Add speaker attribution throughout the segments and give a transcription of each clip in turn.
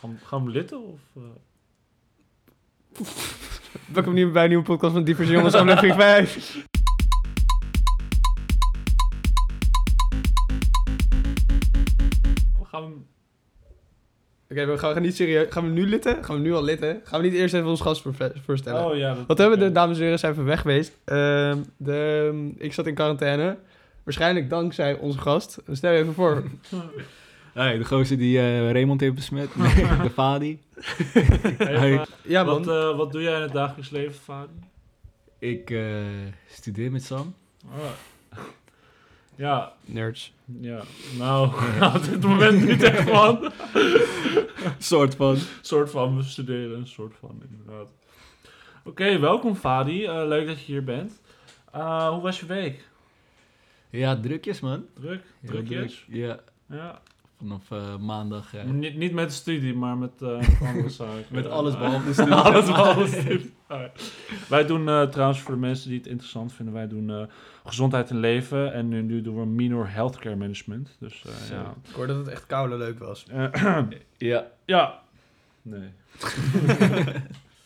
Speaker 1: Gaan, gaan we litten? Of, eh,
Speaker 2: Welkom nu bij een nieuwe podcast van Diepers Jongens, aflevering 5.
Speaker 1: we gaan hem-
Speaker 2: Oké, we gaan, we gaan niet serieus. Gaan we nu litten? Gaan we nu al litten? Gaan we niet eerst even ons gast voorve- voorstellen?
Speaker 1: Oh ja. Dat,
Speaker 2: Wat hebben de
Speaker 1: oké.
Speaker 2: dames en heren zijn even weg geweest. Ehm, de, ik zat in quarantaine. Waarschijnlijk dankzij onze gast. Stel je even voor.
Speaker 3: Hey, de gozer die eh, Raymond heeft besmet. Nee, de Fadi.
Speaker 1: Hey,
Speaker 3: Hey.
Speaker 2: Ja, man.
Speaker 1: wat, eh, wat doe jij in het dagelijks leven, vader?
Speaker 3: Ik eh, studeer met Sam.
Speaker 1: Ah. Ja,
Speaker 2: Nerds.
Speaker 1: ja. Nou, op dit moment niet echt van.
Speaker 3: soort van.
Speaker 1: soort van, we studeren een soort van, inderdaad. Oké, welkom Fadi. Eh, leuk dat je hier bent. Eh, hoe was je week?
Speaker 3: Ja, drukjes man.
Speaker 1: Druk?
Speaker 3: Heel
Speaker 1: Drukjes?
Speaker 3: druk. Ja,
Speaker 1: Ja.
Speaker 3: vanaf eh, maandag. eh,
Speaker 1: Niet, niet met de studie, maar met eh, met andere zaken.
Speaker 3: met alles
Speaker 1: Eh,
Speaker 3: behalve de studie.
Speaker 1: Alles behalve studie. Alright. Wij doen eh, trouwens, voor de mensen die het interessant vinden, wij doen eh, gezondheid en leven. En nu, nu doen we minor healthcare management. Dus eh,
Speaker 3: Zo.
Speaker 1: ja.
Speaker 2: Ik hoorde dat het echt koude leuk was.
Speaker 1: Eh,
Speaker 3: Ja.
Speaker 1: ja. Nee.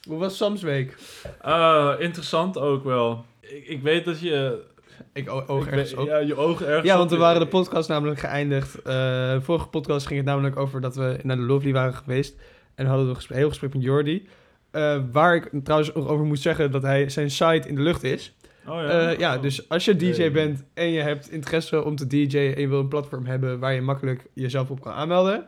Speaker 2: Hoe was Sam's week?
Speaker 1: Eh, interessant ook wel. Ik, ik weet dat je...
Speaker 2: Ik o- oog
Speaker 1: ik
Speaker 2: ergens
Speaker 1: weet-
Speaker 2: op.
Speaker 1: Ja, je ogen ergens
Speaker 2: Ja,
Speaker 1: op.
Speaker 2: want we waren de podcast namelijk geëindigd. eh, vorige podcast ging het namelijk over dat we naar de Lovely waren geweest. En hadden we een gesprek- heel gesprek met Jordi. Eh, waar ik trouwens nog over moet zeggen dat hij zijn site in de lucht is.
Speaker 1: Oh, ja.
Speaker 2: Eh, ja, dus als je DJ
Speaker 3: Hey.
Speaker 2: bent en je hebt interesse om te DJ en je wil een platform hebben waar je makkelijk jezelf op kan aanmelden.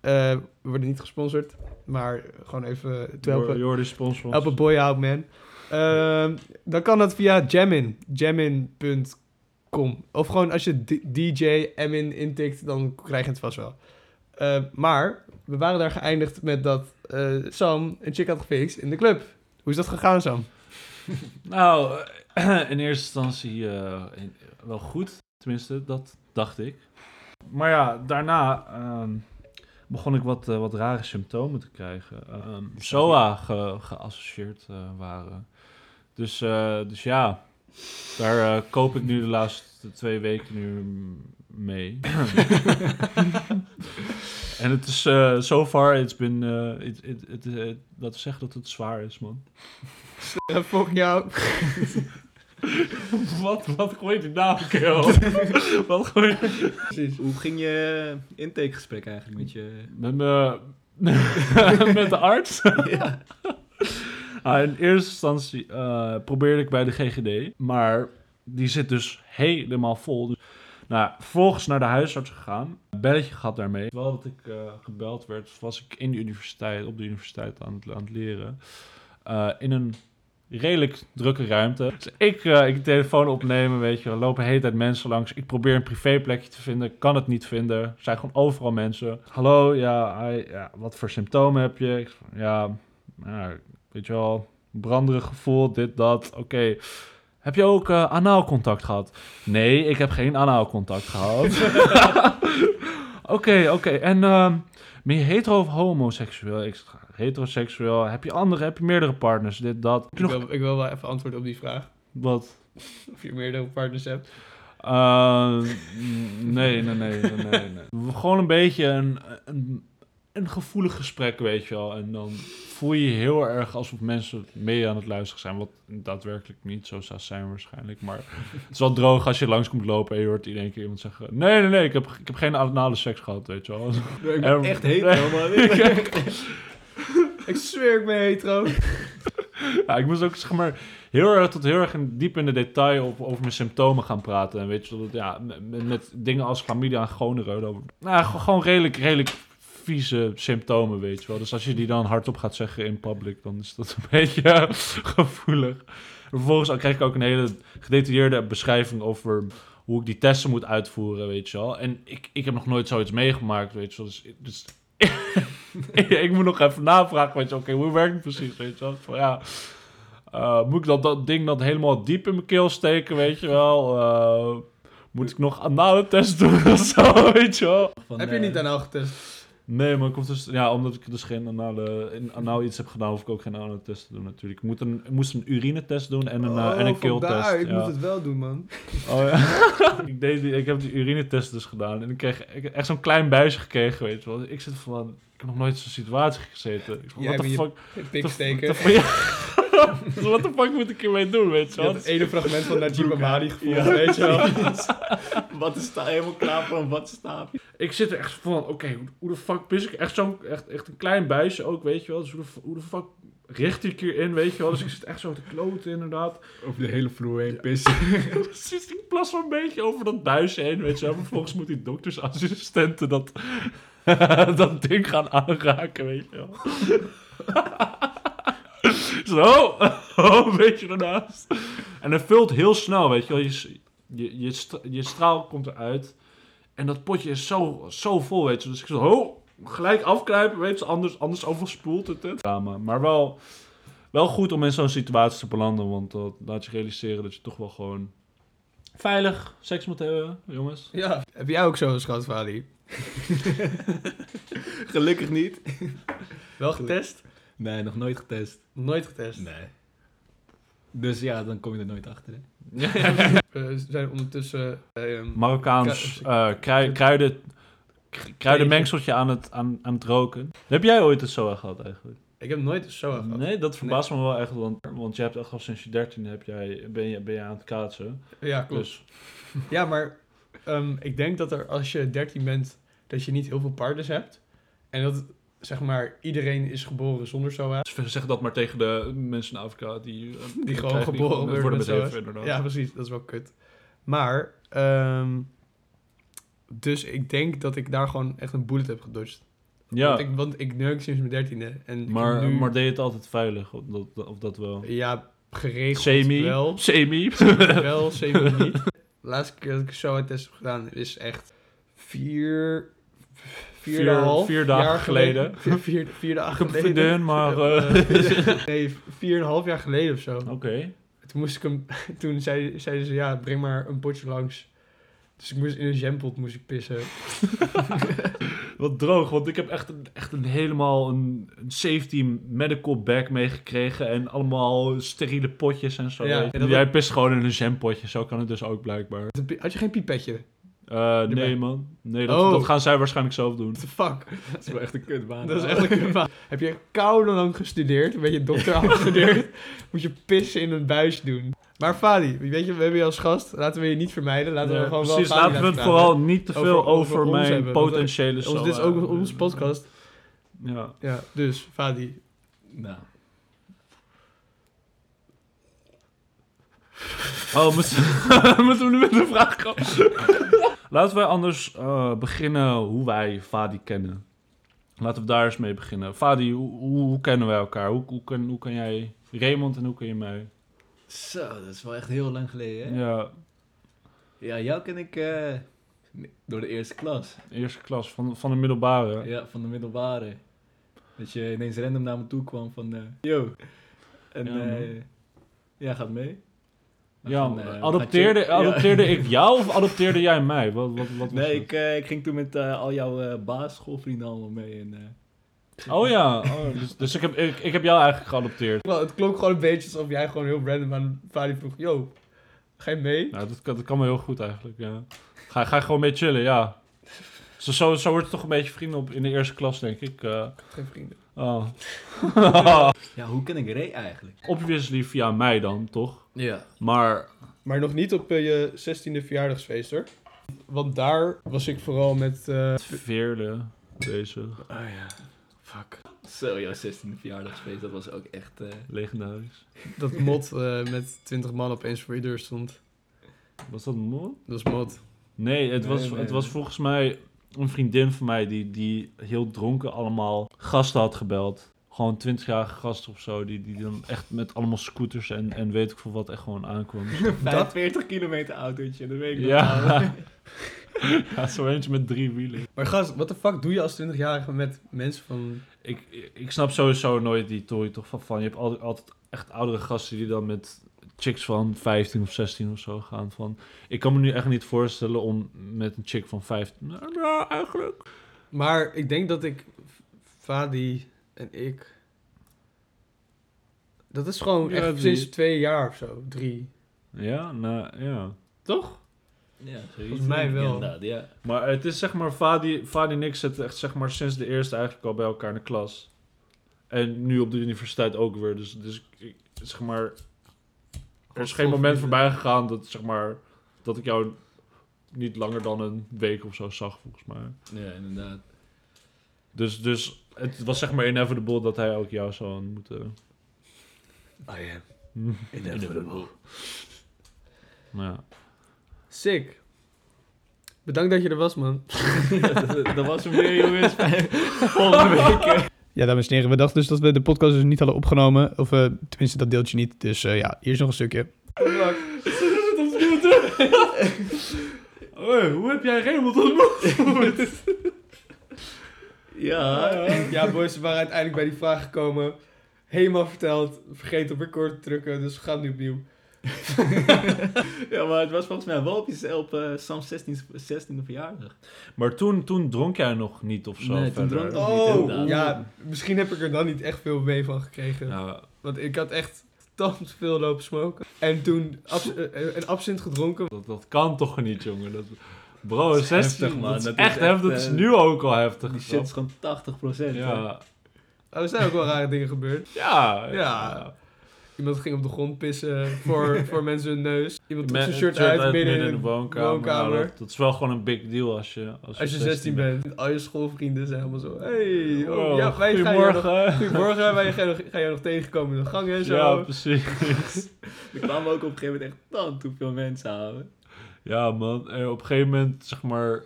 Speaker 2: eh, we worden niet gesponsord, maar gewoon even te helpen.
Speaker 1: Jor- Jordi sponsor. ons.
Speaker 2: Help a boy out, man. Ehm, dan kan dat via Jamin. Jamin.com. Of gewoon als je D- DJ Emin intikt, dan krijg je het vast wel. Ehm, maar we waren daar geëindigd met dat eh, Sam een chick had gefixt in de club. Hoe is dat gegaan, Sam?
Speaker 1: Nou, in eerste instantie eh, in- wel goed. Tenminste, dat dacht ik. Maar ja, daarna ehm, begon ik wat, eh, wat rare symptomen te krijgen. Ehm
Speaker 3: Die staat
Speaker 1: SOA ge- geassocieerd eh, waren. Dus, eh, dus ja, daar eh, koop ik nu de laatste twee weken nu mm, mee. en het is, eh so far, it's been, eh, it, it, it, eh, laten we zeggen dat het zwaar is, man.
Speaker 2: Eh, Fuck jou.
Speaker 1: Wat, wat gooi je nou, kerel? wat gooi je...
Speaker 2: Precies.
Speaker 3: Hoe ging je eh, intakegesprek eigenlijk met je...
Speaker 1: Met, me, met de arts? Ah, in eerste instantie eh, probeerde ik bij de GGD, maar die zit dus helemaal vol. Dus, nou, vervolgens naar de huisarts gegaan, een belletje gehad daarmee. Terwijl dat ik eh, gebeld werd, was ik in de universiteit, op de universiteit aan het, aan het leren. Eh, in een redelijk drukke ruimte. Dus ik, eh, ik de telefoon opnemen, weet je, er lopen de hele tijd mensen langs. Ik probeer een privéplekje te vinden, kan het niet vinden. Er zijn gewoon overal mensen. Hallo, ja, hi, ja wat voor symptomen heb je? Ik, zeg, ja, nou, weet je wel, branderig gevoel, dit, dat, oké. Heb je ook eh anaal contact gehad? Nee, ik heb geen anaal contact gehad. Oké, oké. En ehm, ben je hetero of homoseksueel? Ik zeg, heteroseksueel. Heb je andere, heb je meerdere partners? Dit, dat. Heb
Speaker 2: Ik
Speaker 1: je nog
Speaker 2: wil, ik wil wel even antwoord op die vraag.
Speaker 1: wat?
Speaker 2: Of je meerdere partners hebt.
Speaker 1: Eh, nee, nee, nee, nee, nee, nee. Gewoon een beetje een, een, een gevoelig gesprek, weet je wel. En dan voel je je heel erg alsof mensen mee aan het luisteren zijn. Wat daadwerkelijk niet zo zou zijn waarschijnlijk. Maar het is wel droog als je langs komt lopen en je hoort in één keer iemand zeggen... Nee, nee, nee, ik heb, ik heb geen anale seks gehad, weet je wel.
Speaker 3: Ik
Speaker 1: ben
Speaker 3: ben
Speaker 1: echt
Speaker 3: echt
Speaker 1: hetero,
Speaker 3: heet, man.
Speaker 2: Ik zweer ik ben hetero.
Speaker 1: Ja, ik moest ook zeg maar, heel erg tot heel erg in, diep in de detail op, over mijn symptomen gaan praten. En weet je, dat, ja, met, met dingen als chlamydia en gonoreu. over nou, ge- gewoon redelijk, redelijk vieze symptomen, weet je wel. Dus als je die dan hardop gaat zeggen in public, dan is dat een beetje eh, gevoelig. En vervolgens al krijg ik ook een hele gedetailleerde beschrijving over hoe ik die testen moet uitvoeren, weet je wel. En ik, ik heb nog nooit zoiets meegemaakt, weet je wel. Dus, dus ik moet nog even navragen, weet je wel. Oké, hoe werkt het precies, weet je wel. Van, ja, eh, moet ik dat, dat ding dan helemaal diep in mijn keel steken, weet je wel. Eh, moet ik nog anale test doen of zo, weet je wel.
Speaker 2: heb je
Speaker 3: eh,
Speaker 2: niet anaal getest?
Speaker 1: Nee, maar komt dus, ja, omdat ik dus geen anale, in, anaal iets heb gedaan, hoef ik ook geen anale test te doen natuurlijk. Ik, moet een, ik moest een urinetest doen en een, eh, en een keeltest.
Speaker 2: vandaar. Oh, Ik
Speaker 1: ja.
Speaker 2: moet het wel doen, man.
Speaker 1: Oh, ja. ik, deed die, ik heb die urinetest dus gedaan en ik kreeg ik heb echt zo'n klein buisje gekregen, weet je wel. Ik zit van, ik heb nog nooit in zo'n situatie gezeten. Ik zeg, what
Speaker 2: Jij
Speaker 1: the
Speaker 2: bent je
Speaker 1: fuck?
Speaker 2: Pik
Speaker 1: the
Speaker 2: steken.
Speaker 1: fuck- Ja. Ik zeg, what the fuck moet ik hiermee doen, weet je
Speaker 2: Je
Speaker 1: wel?
Speaker 2: had het ene fragment van Najib
Speaker 3: Broek aan.
Speaker 2: Amadi gevoeld,
Speaker 3: Ja.
Speaker 2: weet je wel.
Speaker 3: Wat is daar helemaal klaar voor? Wat staat?
Speaker 1: Ik zit er echt van, oké, hoe- hoe de fuck pis ik? Echt zo'n, echt, echt een klein buisje ook, weet je wel. Dus hoe de, f- hoe de fuck richt ik hierin, weet je wel. Dus ik zit echt zo te kloten, inderdaad.
Speaker 3: Over de hele vloer heen pissen.
Speaker 1: Precies, ik plas wel een beetje over dat buisje heen, weet je wel. Vervolgens moet die doktersassistenten dat, dat ding gaan aanraken, weet je wel. Zo, oh, oh, een beetje ernaast. En het vult heel snel, weet je wel. Je, s- je, je, stra- je straal komt eruit. En dat potje is zo, zo vol, weet je. Dus ik zo, oh, gelijk afkruipen, weet je. Anders, anders overspoelt het het. Drama. Maar wel, wel goed om in zo'n situatie te belanden. Want dat laat je realiseren dat je toch wel gewoon veilig seks moet hebben, jongens.
Speaker 2: Ja. Heb jij ook zo'n schat, Vali?
Speaker 3: Gelukkig niet.
Speaker 2: Wel getest?
Speaker 3: Nee, nog nooit getest.
Speaker 2: Nooit getest.
Speaker 3: Nee. Dus ja, dan kom je er nooit achter. Hè?
Speaker 2: Eh, we zijn ondertussen... bij, ehm,
Speaker 1: Marokkaans eh krui- kruiden, k- kruidenmengseltje aan het, aan, aan het roken. Heb jij ooit het SOA gehad eigenlijk?
Speaker 2: ik heb nooit zo gehad.
Speaker 1: Nee, dat verbaast me wel echt. Want, want je hebt echt al sinds je 13 heb jij, ben, je, ben je aan het kaatsen.
Speaker 2: Ja, klopt.
Speaker 1: Dus
Speaker 2: Ja, maar ehm, ik denk dat er als je 13 bent, dat je niet heel veel partners hebt. En dat, zeg maar, iedereen is geboren zonder SOA.
Speaker 1: zeg dat maar tegen de mensen in Afrika die, eh,
Speaker 2: Die gewoon
Speaker 1: krijgen- die
Speaker 2: geboren worden met
Speaker 1: bedreven,
Speaker 2: SOA's.
Speaker 1: inderdaad.
Speaker 2: Ja, precies. Dat is wel kut. Maar, ehm, dus ik denk dat ik daar gewoon echt een bullet heb gedodged.
Speaker 1: Ja,
Speaker 2: Want, ik, want ik neuk sinds mijn dertiende. En ik
Speaker 1: maar,
Speaker 2: heb nu,
Speaker 1: maar deed je het altijd veilig? Of dat, of dat wel?
Speaker 2: Ja, geregeld
Speaker 1: Semi?
Speaker 2: wel.
Speaker 1: Semi?
Speaker 2: wel, zeker niet. De laatste keer dat ik zo een test heb gedaan is echt vier... Vier,
Speaker 1: Vier-
Speaker 2: en een half
Speaker 1: vier dagen
Speaker 2: jaar
Speaker 1: geleden.
Speaker 2: Vier, vier, vier dagen
Speaker 1: Ik heb een
Speaker 2: geleden.
Speaker 1: vriendin, maar... eh, Oh.
Speaker 2: Eh, nee, vier en een half jaar geleden of zo.
Speaker 1: Oké.
Speaker 2: Toen moest ik hem... Toen zei- zeiden ze, ja, breng maar een potje langs. Dus ik moest in een jampot moest ik pissen.
Speaker 1: Wat droog, want ik heb echt, een, echt een helemaal een, een safety medical bag meegekregen. En allemaal steriele potjes en zo.
Speaker 2: Ja, en dat-
Speaker 1: Jij pist gewoon in een zempotje, zo kan het dus ook blijkbaar.
Speaker 2: Had je geen pipetje?
Speaker 1: Eh, nee
Speaker 2: Erbij.
Speaker 1: man, nee, dat,
Speaker 2: Oh.
Speaker 1: dat gaan zij waarschijnlijk zelf doen.
Speaker 2: What the fuck?
Speaker 3: Dat is wel echt een kutbaan.
Speaker 2: Dat is echt een kutbaan. Heb je koudenlang gestudeerd, een beetje dokter afgestudeerd, moet je pissen in een buis doen. Maar Fadi, weet je, we hebben je als gast, laten we je niet vermijden, laten
Speaker 1: Ja,
Speaker 2: we gewoon
Speaker 1: precies,
Speaker 2: wel Fadi
Speaker 1: laten we het
Speaker 2: laten
Speaker 1: vooral Dus niet te
Speaker 2: Over-
Speaker 1: veel over,
Speaker 2: over ons
Speaker 1: mijn
Speaker 2: hebben, want, eh,
Speaker 1: potentiële
Speaker 2: praten. Ons, dit is
Speaker 1: SOA.
Speaker 2: ook onze podcast.
Speaker 1: Ja.
Speaker 2: Ja, dus Fadi,
Speaker 3: Nou.
Speaker 1: Oh, moeten moeten we nu met de vraag komen? Laten wij anders eh, beginnen hoe wij Fadi kennen. Laten we daar eens mee beginnen. Fadi, hoe, hoe, hoe kennen wij elkaar? Hoe, hoe, ken, hoe ken jij Raymond en hoe ken je mij?
Speaker 3: Zo, dat is wel echt heel lang geleden. Hè? Ja.
Speaker 1: Ja,
Speaker 3: jou ken ik eh, door de eerste klas.
Speaker 1: eerste klas van, van de middelbare.
Speaker 3: Ja, van de middelbare. Dat je ineens random naar me toe kwam van... eh, yo. En
Speaker 1: Ja,
Speaker 3: ja,
Speaker 1: man.
Speaker 3: ja, gaat mee. We
Speaker 1: Ja,
Speaker 3: gaan, eh, we gaan
Speaker 1: adopteerde,
Speaker 3: chillen. Ja.
Speaker 1: adopteerde ik jou of adopteerde jij mij? Wat, wat, wat was
Speaker 3: Nee,
Speaker 1: het?
Speaker 3: ik, eh, ik ging toen met eh, al jouw eh basisschoolvrienden allemaal mee. En, eh,
Speaker 1: Oh ja, oh, dus, dus ik, heb, ik, ik heb jou eigenlijk geadopteerd.
Speaker 2: Wel, het klonk gewoon een beetje alsof jij gewoon heel random aan Fadi vroeg, yo, ga je mee?
Speaker 1: Nou, dat, kan- dat kan me heel goed eigenlijk, ja. Ga, ga gewoon mee chillen, ja. Zo, zo, zo wordt het toch een beetje vrienden op in de eerste klas, denk ik. eh.
Speaker 2: Ik had geen vrienden.
Speaker 1: Oh.
Speaker 3: ja, hoe ken ik Ray eigenlijk?
Speaker 1: Obviously via mij dan, toch?
Speaker 3: Ja.
Speaker 1: Maar
Speaker 2: Maar nog niet op eh, je 16e verjaardagsfeest hoor. Want daar was ik vooral met... eh,
Speaker 1: Veerle bezig,
Speaker 3: Oh ja, fuck. Zo, jouw 16e verjaardagsfeest, dat was ook echt... eh,
Speaker 1: legendarisch.
Speaker 2: dat mot eh, met 20 man opeens voor je deur stond.
Speaker 1: Was dat mooi?
Speaker 2: Dat is mot.
Speaker 1: Nee, het,
Speaker 3: Nee,
Speaker 1: was,
Speaker 3: nee,
Speaker 1: het was
Speaker 3: nee.
Speaker 1: volgens mij een vriendin van mij die, die heel dronken allemaal gasten had gebeld. Gewoon 20-jarige gasten of zo, die, die dan echt met allemaal scooters en, en weet ik veel wat echt gewoon aankwam.
Speaker 3: 45 kilometer autootje, dat weet ik nog. wel.
Speaker 1: ja. ja, zo eentje met drie wielen.
Speaker 2: Maar gast, wat de fuck doe je als 20-jarige met mensen van...
Speaker 1: Ik, ik snap sowieso nooit die tory toch van, van je hebt altijd, altijd echt oudere gasten die dan met chicks van 15 of 16 of zo gaan van ik kan me nu echt niet voorstellen om met een chick van 15 Nou, ja eigenlijk
Speaker 2: Maar ik denk dat ik, Fadi en ik... Dat is gewoon
Speaker 1: Ja,
Speaker 2: echt
Speaker 1: die-
Speaker 2: sinds twee jaar of zo, drie.
Speaker 1: ja nou ja
Speaker 2: Toch?
Speaker 3: Ja,
Speaker 2: Volgens mij wel.
Speaker 3: Inderdaad, ja.
Speaker 1: Maar het is zeg maar, Fadi, Fadi en ik zitten echt zeg maar sinds de eerste eigenlijk al bij elkaar in de klas. En nu op de universiteit ook weer. Dus, dus ik- ik, zeg maar, er is geen moment voorbij gegaan dat, zeg maar, dat ik jou niet langer dan een week of zo zag, volgens mij.
Speaker 3: Ja, inderdaad.
Speaker 1: Dus, dus het was zeg maar inevitable dat hij ook jou zou moeten.
Speaker 3: Oh ja.
Speaker 1: Hmm. Nou ja.
Speaker 2: Sick. Bedankt dat je er was, man.
Speaker 3: dat was hem weer, jongens. Volgende week.
Speaker 2: Ja, dames en heren, we dachten dus dat we de podcast dus niet hadden opgenomen. Of eh, tenminste, dat deeltje niet. Dus eh, ja, hier is nog een stukje.
Speaker 1: Hey, hoe heb jij Raymond ontmoet?
Speaker 3: Ja.
Speaker 2: Ja, boys, we waren uiteindelijk bij die vraag gekomen. Helemaal verteld. Vergeet op record te drukken, dus we gaan nu opnieuw.
Speaker 3: ja, maar het was volgens mij wel op, je- op eh, Sam's 16, 16e verjaardag.
Speaker 1: maar toen, toen dronk jij nog niet of zo.
Speaker 3: Nee, toen
Speaker 1: verder.
Speaker 3: dronk ik nog niet,
Speaker 2: Oh,
Speaker 3: inderdaad.
Speaker 2: ja, misschien heb ik er dan niet echt veel mee van gekregen.
Speaker 1: Ja,
Speaker 2: Want ik had echt tant veel lopen smoken. En toen abs- eh, een absint gedronken.
Speaker 1: dat, dat kan toch niet, jongen. Dat, bro,
Speaker 3: Dat is
Speaker 1: 16,
Speaker 3: heftig, man.
Speaker 1: Dat is
Speaker 3: Dat is
Speaker 1: echt
Speaker 3: echt,
Speaker 1: heftig. Dat is
Speaker 3: eh,
Speaker 1: nu ook al heftig.
Speaker 3: Die
Speaker 1: grap.
Speaker 3: shit is gewoon 80%. hè.
Speaker 1: Ja.
Speaker 2: Oh, er zijn ook wel rare dingen gebeurd.
Speaker 1: Ja.
Speaker 2: Ja. Iemand ging op de grond pissen voor, voor mensen hun neus. Iemand trok
Speaker 1: Met-
Speaker 2: zijn shirt uit midden in
Speaker 1: de woonkamer.
Speaker 2: woonkamer.
Speaker 1: Nou, dat, dat is wel gewoon een big deal als je, als
Speaker 2: Als je 16 bent, al je schoolvrienden zijn helemaal zo. Hey, oh,
Speaker 1: Wow,
Speaker 2: ja, wij gaan jou nog,
Speaker 1: goedemorgen.
Speaker 2: goedemorgen, wij gaan, gaan jou nog tegenkomen in de gang en zo.
Speaker 1: Ja, precies.
Speaker 3: Er kwamen ook op een gegeven moment echt tant hoeveel mensen houden.
Speaker 1: Ja, man. En op een gegeven moment, zeg maar,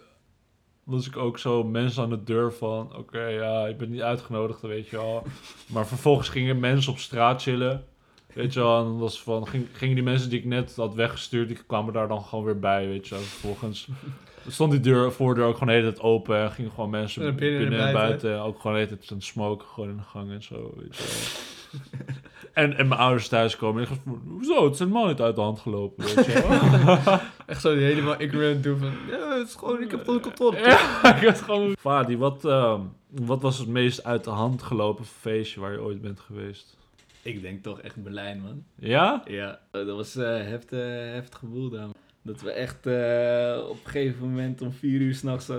Speaker 1: was ik ook zo mensen aan de deur van... Oké, ja, ik ben niet uitgenodigd, weet je wel. Maar vervolgens gingen mensen op straat chillen. Weet je wel, en dan was van, ging, gingen die mensen die ik net had weggestuurd, die kwamen daar dan gewoon weer bij, weet je wel. Vervolgens stond die deur, voordeur ook gewoon de hele tijd open en gingen gewoon mensen
Speaker 2: En
Speaker 1: binnen,
Speaker 2: binnen en
Speaker 1: en
Speaker 2: buiten.
Speaker 1: buiten. Ook gewoon de hele tijd aan het smoken, gewoon in de gang en zo, weet je wel. En, en mijn ouders thuis komen en ik dacht, hoezo, het is helemaal niet uit de hand gelopen, weet je wel.
Speaker 2: Echt zo die helemaal ignorant doen van, ja, het is gewoon, ik heb het onder controle.
Speaker 1: Ja, ik had gewoon... Fadi, wat, ehm, wat was het meest uit de hand gelopen feestje waar je ooit bent geweest?
Speaker 3: Ik denk toch echt Berlijn, man.
Speaker 1: Ja?
Speaker 3: Ja, dat was eh heftig, heftig gevoel daar. Dat we echt eh, op een gegeven moment om vier uur s'nachts eh,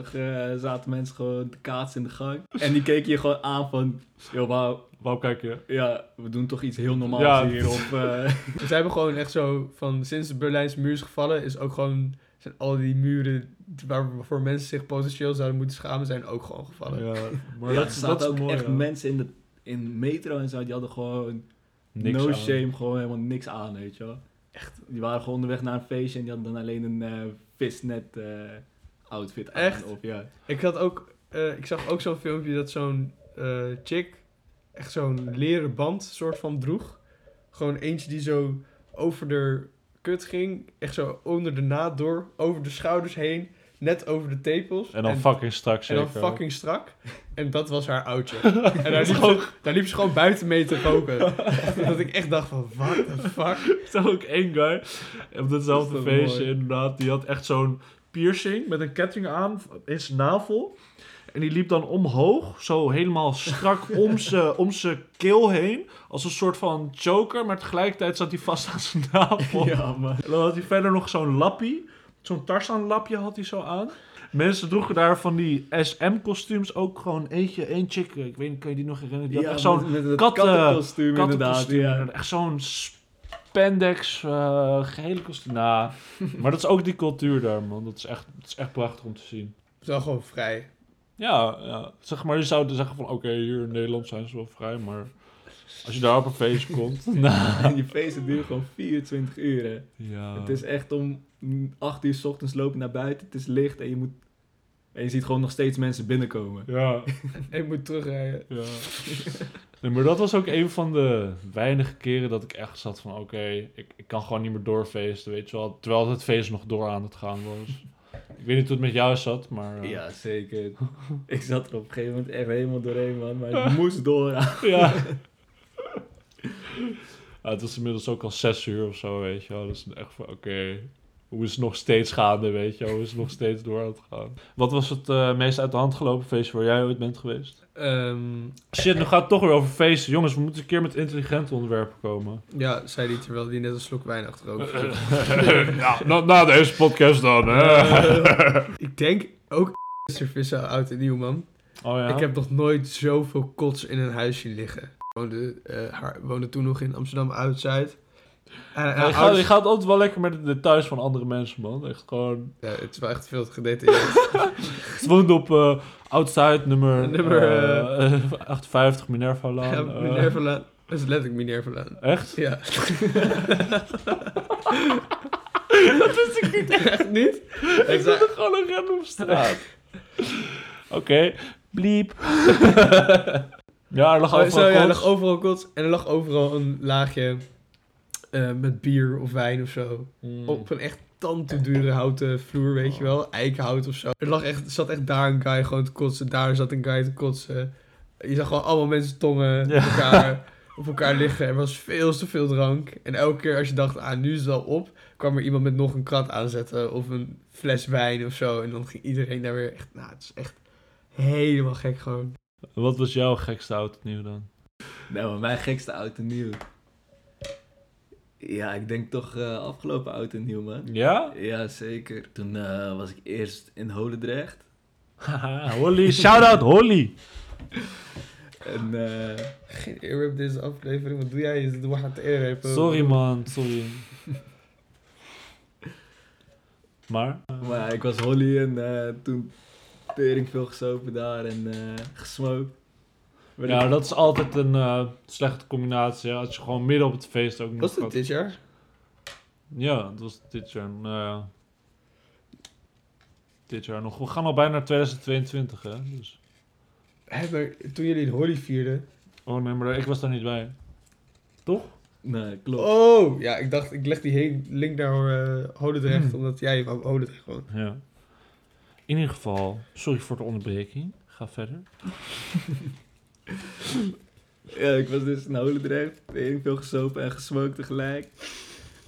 Speaker 3: zaten mensen gewoon te kaatsen in de gang. En die keken je gewoon aan van, joh, wauw,
Speaker 1: Waarom kijk je?
Speaker 3: ja, we doen toch iets heel normaals
Speaker 1: Ja.
Speaker 3: hier. Op, eh,
Speaker 2: Ze hebben gewoon echt zo van sinds de Berlijnse muur is gevallen, is ook gewoon zijn al die muren waarvoor mensen zich potentieel zouden moeten schamen, zijn ook gewoon gevallen.
Speaker 1: Ja, maar
Speaker 3: ja,
Speaker 1: dat,
Speaker 3: er
Speaker 1: is-
Speaker 3: zaten
Speaker 1: dat is
Speaker 3: ook
Speaker 1: mooi,
Speaker 3: echt
Speaker 1: ja.
Speaker 3: mensen in de in metro en zo, die hadden gewoon
Speaker 1: Niks
Speaker 3: no
Speaker 1: aan.
Speaker 3: shame, gewoon helemaal niks aan, weet je wel. Echt, die waren gewoon onderweg naar een feestje en die hadden dan alleen een eh, visnet eh, outfit aan.
Speaker 2: Echt?
Speaker 3: Of, ja.
Speaker 2: Ik had ook, eh, ik zag ook zo'n filmpje dat zo'n eh, chick echt zo'n leren band soort van droeg. Gewoon eentje die zo over de kut ging, echt zo onder de naad door, over de schouders heen, net over de tepels.
Speaker 1: En dan fucking straks
Speaker 2: En
Speaker 1: zeker.
Speaker 2: dan fucking strak. En dat was haar oudje. En daar liep, ze, daar liep ze gewoon buiten mee te roken. dat ik echt dacht van, what the fuck?
Speaker 1: Er was ook één guy op datzelfde
Speaker 3: Dat is toch
Speaker 1: feestje
Speaker 3: mooi.
Speaker 1: inderdaad. Die had echt zo'n piercing met een ketting aan in zijn navel. En die liep dan omhoog, zo helemaal strak om zijn om zijn keel heen. Als een soort van choker, maar tegelijkertijd zat hij vast aan zijn navel.
Speaker 3: ja, man.
Speaker 1: En dan had hij verder nog zo'n lappie. Zo'n Tarzan-lapje had hij zo aan. Mensen droegen daar van die SM-kostuums ook gewoon eentje, één chick. Ik weet niet, kan je die nog herinneren? Die had echt zo'n
Speaker 3: met- met het
Speaker 1: katten-
Speaker 3: kattenkostuum inderdaad.
Speaker 1: kattenkostuum.
Speaker 3: Ja.
Speaker 1: Echt zo'n spandex, eh gehele kostuum. Nou, maar dat is ook die cultuur daar, man. Dat is echt, dat is echt prachtig om te zien.
Speaker 2: Zo gewoon vrij.
Speaker 1: Ja, ja. zeg maar, je zou dus zeggen van... Oké, hier in Nederland zijn ze wel vrij, maar... Als je daar op een feestje komt... nou,
Speaker 3: En die feesten duren gewoon 24 uur. hè.
Speaker 1: ja.
Speaker 3: Het is echt om 8 uur s ochtends lopen naar buiten. Het is licht en je moet. En je ziet gewoon nog steeds mensen binnenkomen.
Speaker 1: Ja.
Speaker 2: En ik moet terugrijden.
Speaker 1: Ja. Nee, maar dat was ook een van de weinige keren dat ik echt zat van... oké, ik, ik kan gewoon niet meer doorfeesten, weet je wel. Terwijl het feest nog door aan het gaan was. Ik weet niet hoe het met jou zat, maar... eh,
Speaker 3: Ja, zeker. Ik zat er op een gegeven moment echt helemaal doorheen, man. Maar ik moest door.
Speaker 1: ja. Ja, het was inmiddels ook al zes uur of zo, weet je wel. Dus echt van, oké, Hoe is het nog steeds gaande, weet je? Hoe is het nog steeds door aan het gaan? Wat was het eh, meest uit de hand gelopen feestje waar jij ooit bent geweest?
Speaker 2: Ehm,
Speaker 1: Shit, nu gaat het toch weer over feesten. Jongens, we moeten een keer met intelligente onderwerpen komen.
Speaker 2: ja, zei die terwijl die net een slok wijn achterover sloeg.
Speaker 1: Eh, ja, na, na deze podcast dan,
Speaker 2: Eh, ik denk ook Cervissa oud en nieuw, man.
Speaker 1: oh ja?
Speaker 2: Ik heb nog nooit zoveel kots in een huisje liggen. Woonde, eh, haar, woonde toen nog in Amsterdam Oud-Zuid. En, en
Speaker 1: Ja, je,
Speaker 2: haar
Speaker 1: gaat, je
Speaker 2: eh, ouders-
Speaker 1: gaat altijd wel lekker met de details van andere mensen, man. Echt gewoon...
Speaker 2: Ja, het is wel echt veel te gedetailleerd.
Speaker 1: Het woont op eh Oud-Zuid, nummer,
Speaker 2: Nummer,
Speaker 1: eh, 58, Minerva Laan.
Speaker 2: ja,
Speaker 1: eh.
Speaker 2: Minerva Laan. Dat is letterlijk Minerva Laan.
Speaker 1: Echt?
Speaker 2: Ja. dat wist ik niet. Echt niet?
Speaker 1: Ik zat er gewoon een random straat. Oké, bliep. ja, er lag
Speaker 2: Oh, zo,
Speaker 1: overal
Speaker 2: ja, er
Speaker 1: kots.
Speaker 2: lag overal kots en er lag overal een laagje eh, met bier of wijn of zo.
Speaker 1: Mm.
Speaker 2: Op een echt tandtoedure houten vloer, weet
Speaker 1: Oh.
Speaker 2: je wel. Eikenhout of zo. Er lag echt, zat echt daar een guy gewoon te kotsen. Daar zat een guy te kotsen. Je zag gewoon allemaal mensen tongen
Speaker 1: Ja.
Speaker 2: op, elkaar, op elkaar liggen. Er was veel te veel drank. En elke keer als je dacht, ah, nu is het wel op... kwam er iemand met nog een krat aanzetten of een fles wijn of zo. En dan ging iedereen daar weer echt... Nou, het is echt helemaal gek gewoon.
Speaker 1: Wat was jouw gekste oud en nieuw dan?
Speaker 3: Nou, maar mijn gekste oud en nieuw. Ja, ik denk toch eh, afgelopen oud en nieuw, man.
Speaker 1: Ja?
Speaker 3: Ja, zeker. Toen eh, was ik eerst in Holendrecht.
Speaker 1: Haha, Holly, shout-out Holly.
Speaker 3: En eh,
Speaker 2: Geen earwrap deze aflevering. Wat doe jij? Je zit me aan het earwapen.
Speaker 1: Sorry man, sorry. Maar?
Speaker 3: maar ja, ik was Holly en eh, toen tering veel gesopen daar en eh, gesmoked. Werd
Speaker 1: Ja,
Speaker 3: ik-
Speaker 1: dat is altijd een eh, slechte combinatie. hè. Als je gewoon midden op het feest ook nog
Speaker 2: Was het
Speaker 1: gaat-
Speaker 2: dit jaar?
Speaker 1: Ja, dat was dit jaar. Nou ja. Dit jaar nog. We gaan al bijna naar 2022, hè? Dus.
Speaker 2: Hè, maar toen jullie het Holly vierden...
Speaker 1: Oh nee, maar ik was daar niet bij. Toch?
Speaker 3: Nee, klopt.
Speaker 2: Oh, ja, ik dacht, ik leg die he- link naar eh Holendrecht, omdat jij wou Holendrecht gewoon.
Speaker 1: Ja. In ieder geval, sorry voor de onderbreking. Ga verder.
Speaker 3: Ja, ik was dus in Holendrecht. Tering veel gesopen en gesmoked tegelijk.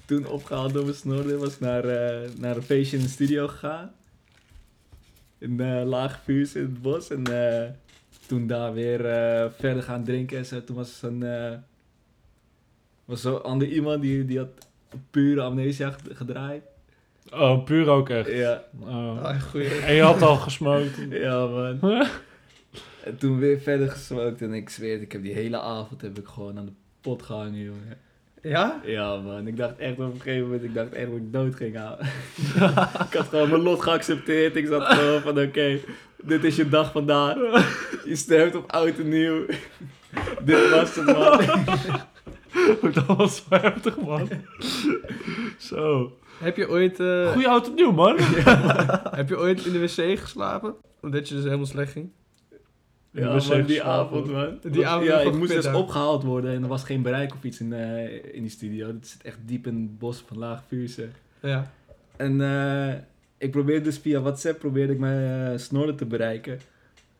Speaker 3: Toen opgehaald door mijn snor. Was naar, eh, naar een feestje in de studio gegaan. In eh lage vuurs in het bos. En eh, toen daar weer eh, verder gaan drinken en zo. Toen was er een... eh, was zo'n ander iemand die, die had pure amnesia ged- gedraaid.
Speaker 1: Oh, puur ook echt.
Speaker 3: Ja,
Speaker 1: Oh.
Speaker 2: Ah, goeie.
Speaker 1: En je had al gesmokt.
Speaker 3: ja man. En toen weer verder gesmoked. En ik zweer het, ik heb die hele avond heb ik gewoon aan de pot gehangen, jongen.
Speaker 2: Ja?
Speaker 3: Ja man, ik dacht echt op een gegeven moment, ik dacht echt dat ik dood ging houden. ik had gewoon mijn lot geaccepteerd. Ik zat gewoon van oké, dit is je dag vandaag. Je sterft op oud en nieuw. dit was het man.
Speaker 1: dat was wel heftig, man. Zo.
Speaker 2: Heb je, ooit, eh,
Speaker 1: Goeie oud opnieuw, man.
Speaker 2: heb je ooit in de wc geslapen? Omdat je dus helemaal slecht ging?
Speaker 1: Ja,
Speaker 3: Ja
Speaker 1: we zijn
Speaker 3: man, die
Speaker 1: geslapen.
Speaker 3: avond man.
Speaker 2: Die avond
Speaker 3: ja,
Speaker 2: heb ik
Speaker 3: ik moest
Speaker 2: gepit
Speaker 3: dus
Speaker 2: daar.
Speaker 3: opgehaald worden en er was geen bereik of iets in, eh, in die studio. Dit zit echt diep in het bos van Laag Vuurse.
Speaker 2: Ja.
Speaker 3: En eh, ik probeerde dus via WhatsApp probeerde ik mijn eh snorren te bereiken.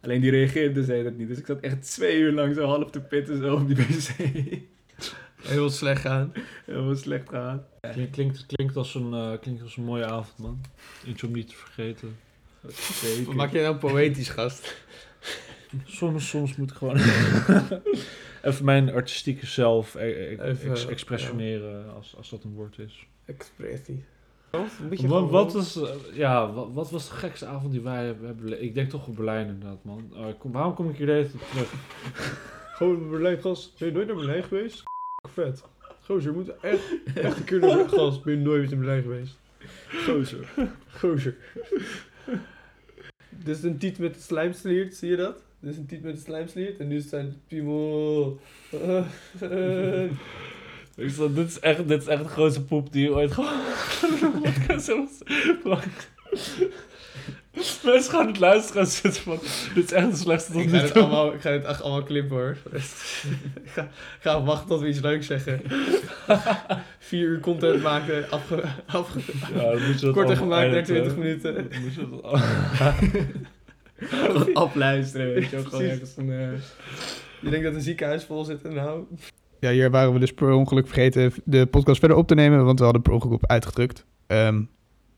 Speaker 3: Alleen die reageerde dus hij dat niet. Dus ik zat echt twee uur lang zo half te pitten zo op die wc.
Speaker 2: Heel slecht gaan.
Speaker 3: Helemaal slecht gehaald.
Speaker 1: Klink- Klinkt, klinkt, als een, eh, klinkt als een mooie avond, man. Iets om niet te vergeten.
Speaker 2: Wat maak jij nou poëtisch, gast?
Speaker 1: Soms, soms moet ik gewoon... Even mijn artistieke zelf eh, eh,
Speaker 2: Even,
Speaker 1: ex-
Speaker 2: ja.
Speaker 1: expressioneren, als, als dat een woord is.
Speaker 2: Expressie.
Speaker 1: Wat, wat, was, eh, ja, wat, wat was de gekste avond die wij hebben? hebben bele- Ik denk toch op Berlijn inderdaad, man. Oh, ik kom- waarom kom ik hier de hele tijd op terug?
Speaker 2: Gewoon Berlijn, gast. Ben je nooit naar Berlijn geweest? Vet. Gozer, je moet echt, echt een keer naar Berlijn. Gast, ben je nooit naar Berlijn geweest?
Speaker 3: Gozer.
Speaker 2: Gozer. Dit is een tiet met een slijmsliert, zie je dat? Dit is een tiet met een slijmsliert en nu is het zijn piemel.
Speaker 1: Ik zat, dit, is echt, dit is echt Eh, de grootste poep die je ooit gewoon... Ik kan zelfs- Wacht. Mensen gaan het luisteren en zitten van... Dit is echt de slechtste tot
Speaker 2: ik,
Speaker 1: nu
Speaker 2: ga
Speaker 1: toe.
Speaker 2: dit allemaal, ik ga dit echt allemaal clippen hoor. ik ga, ik ga wachten tot we iets leuks zeggen. Vier uur content maken, afge, afge,
Speaker 1: Ja, dan moet je dat
Speaker 2: korter
Speaker 1: allemaal
Speaker 2: gemaakt naar
Speaker 1: editen.
Speaker 2: 20 minuten.
Speaker 1: Dan moet je dat allemaal-
Speaker 3: Gewoon afluisteren, weet je wel. Gewoon
Speaker 2: Precies.
Speaker 3: ergens een... eh,
Speaker 2: Je denkt dat een ziekenhuis vol zit en nou... Ja, hier waren we dus per ongeluk vergeten de podcast verder op te nemen, want we hadden per ongeluk op uitgedrukt. Ehm,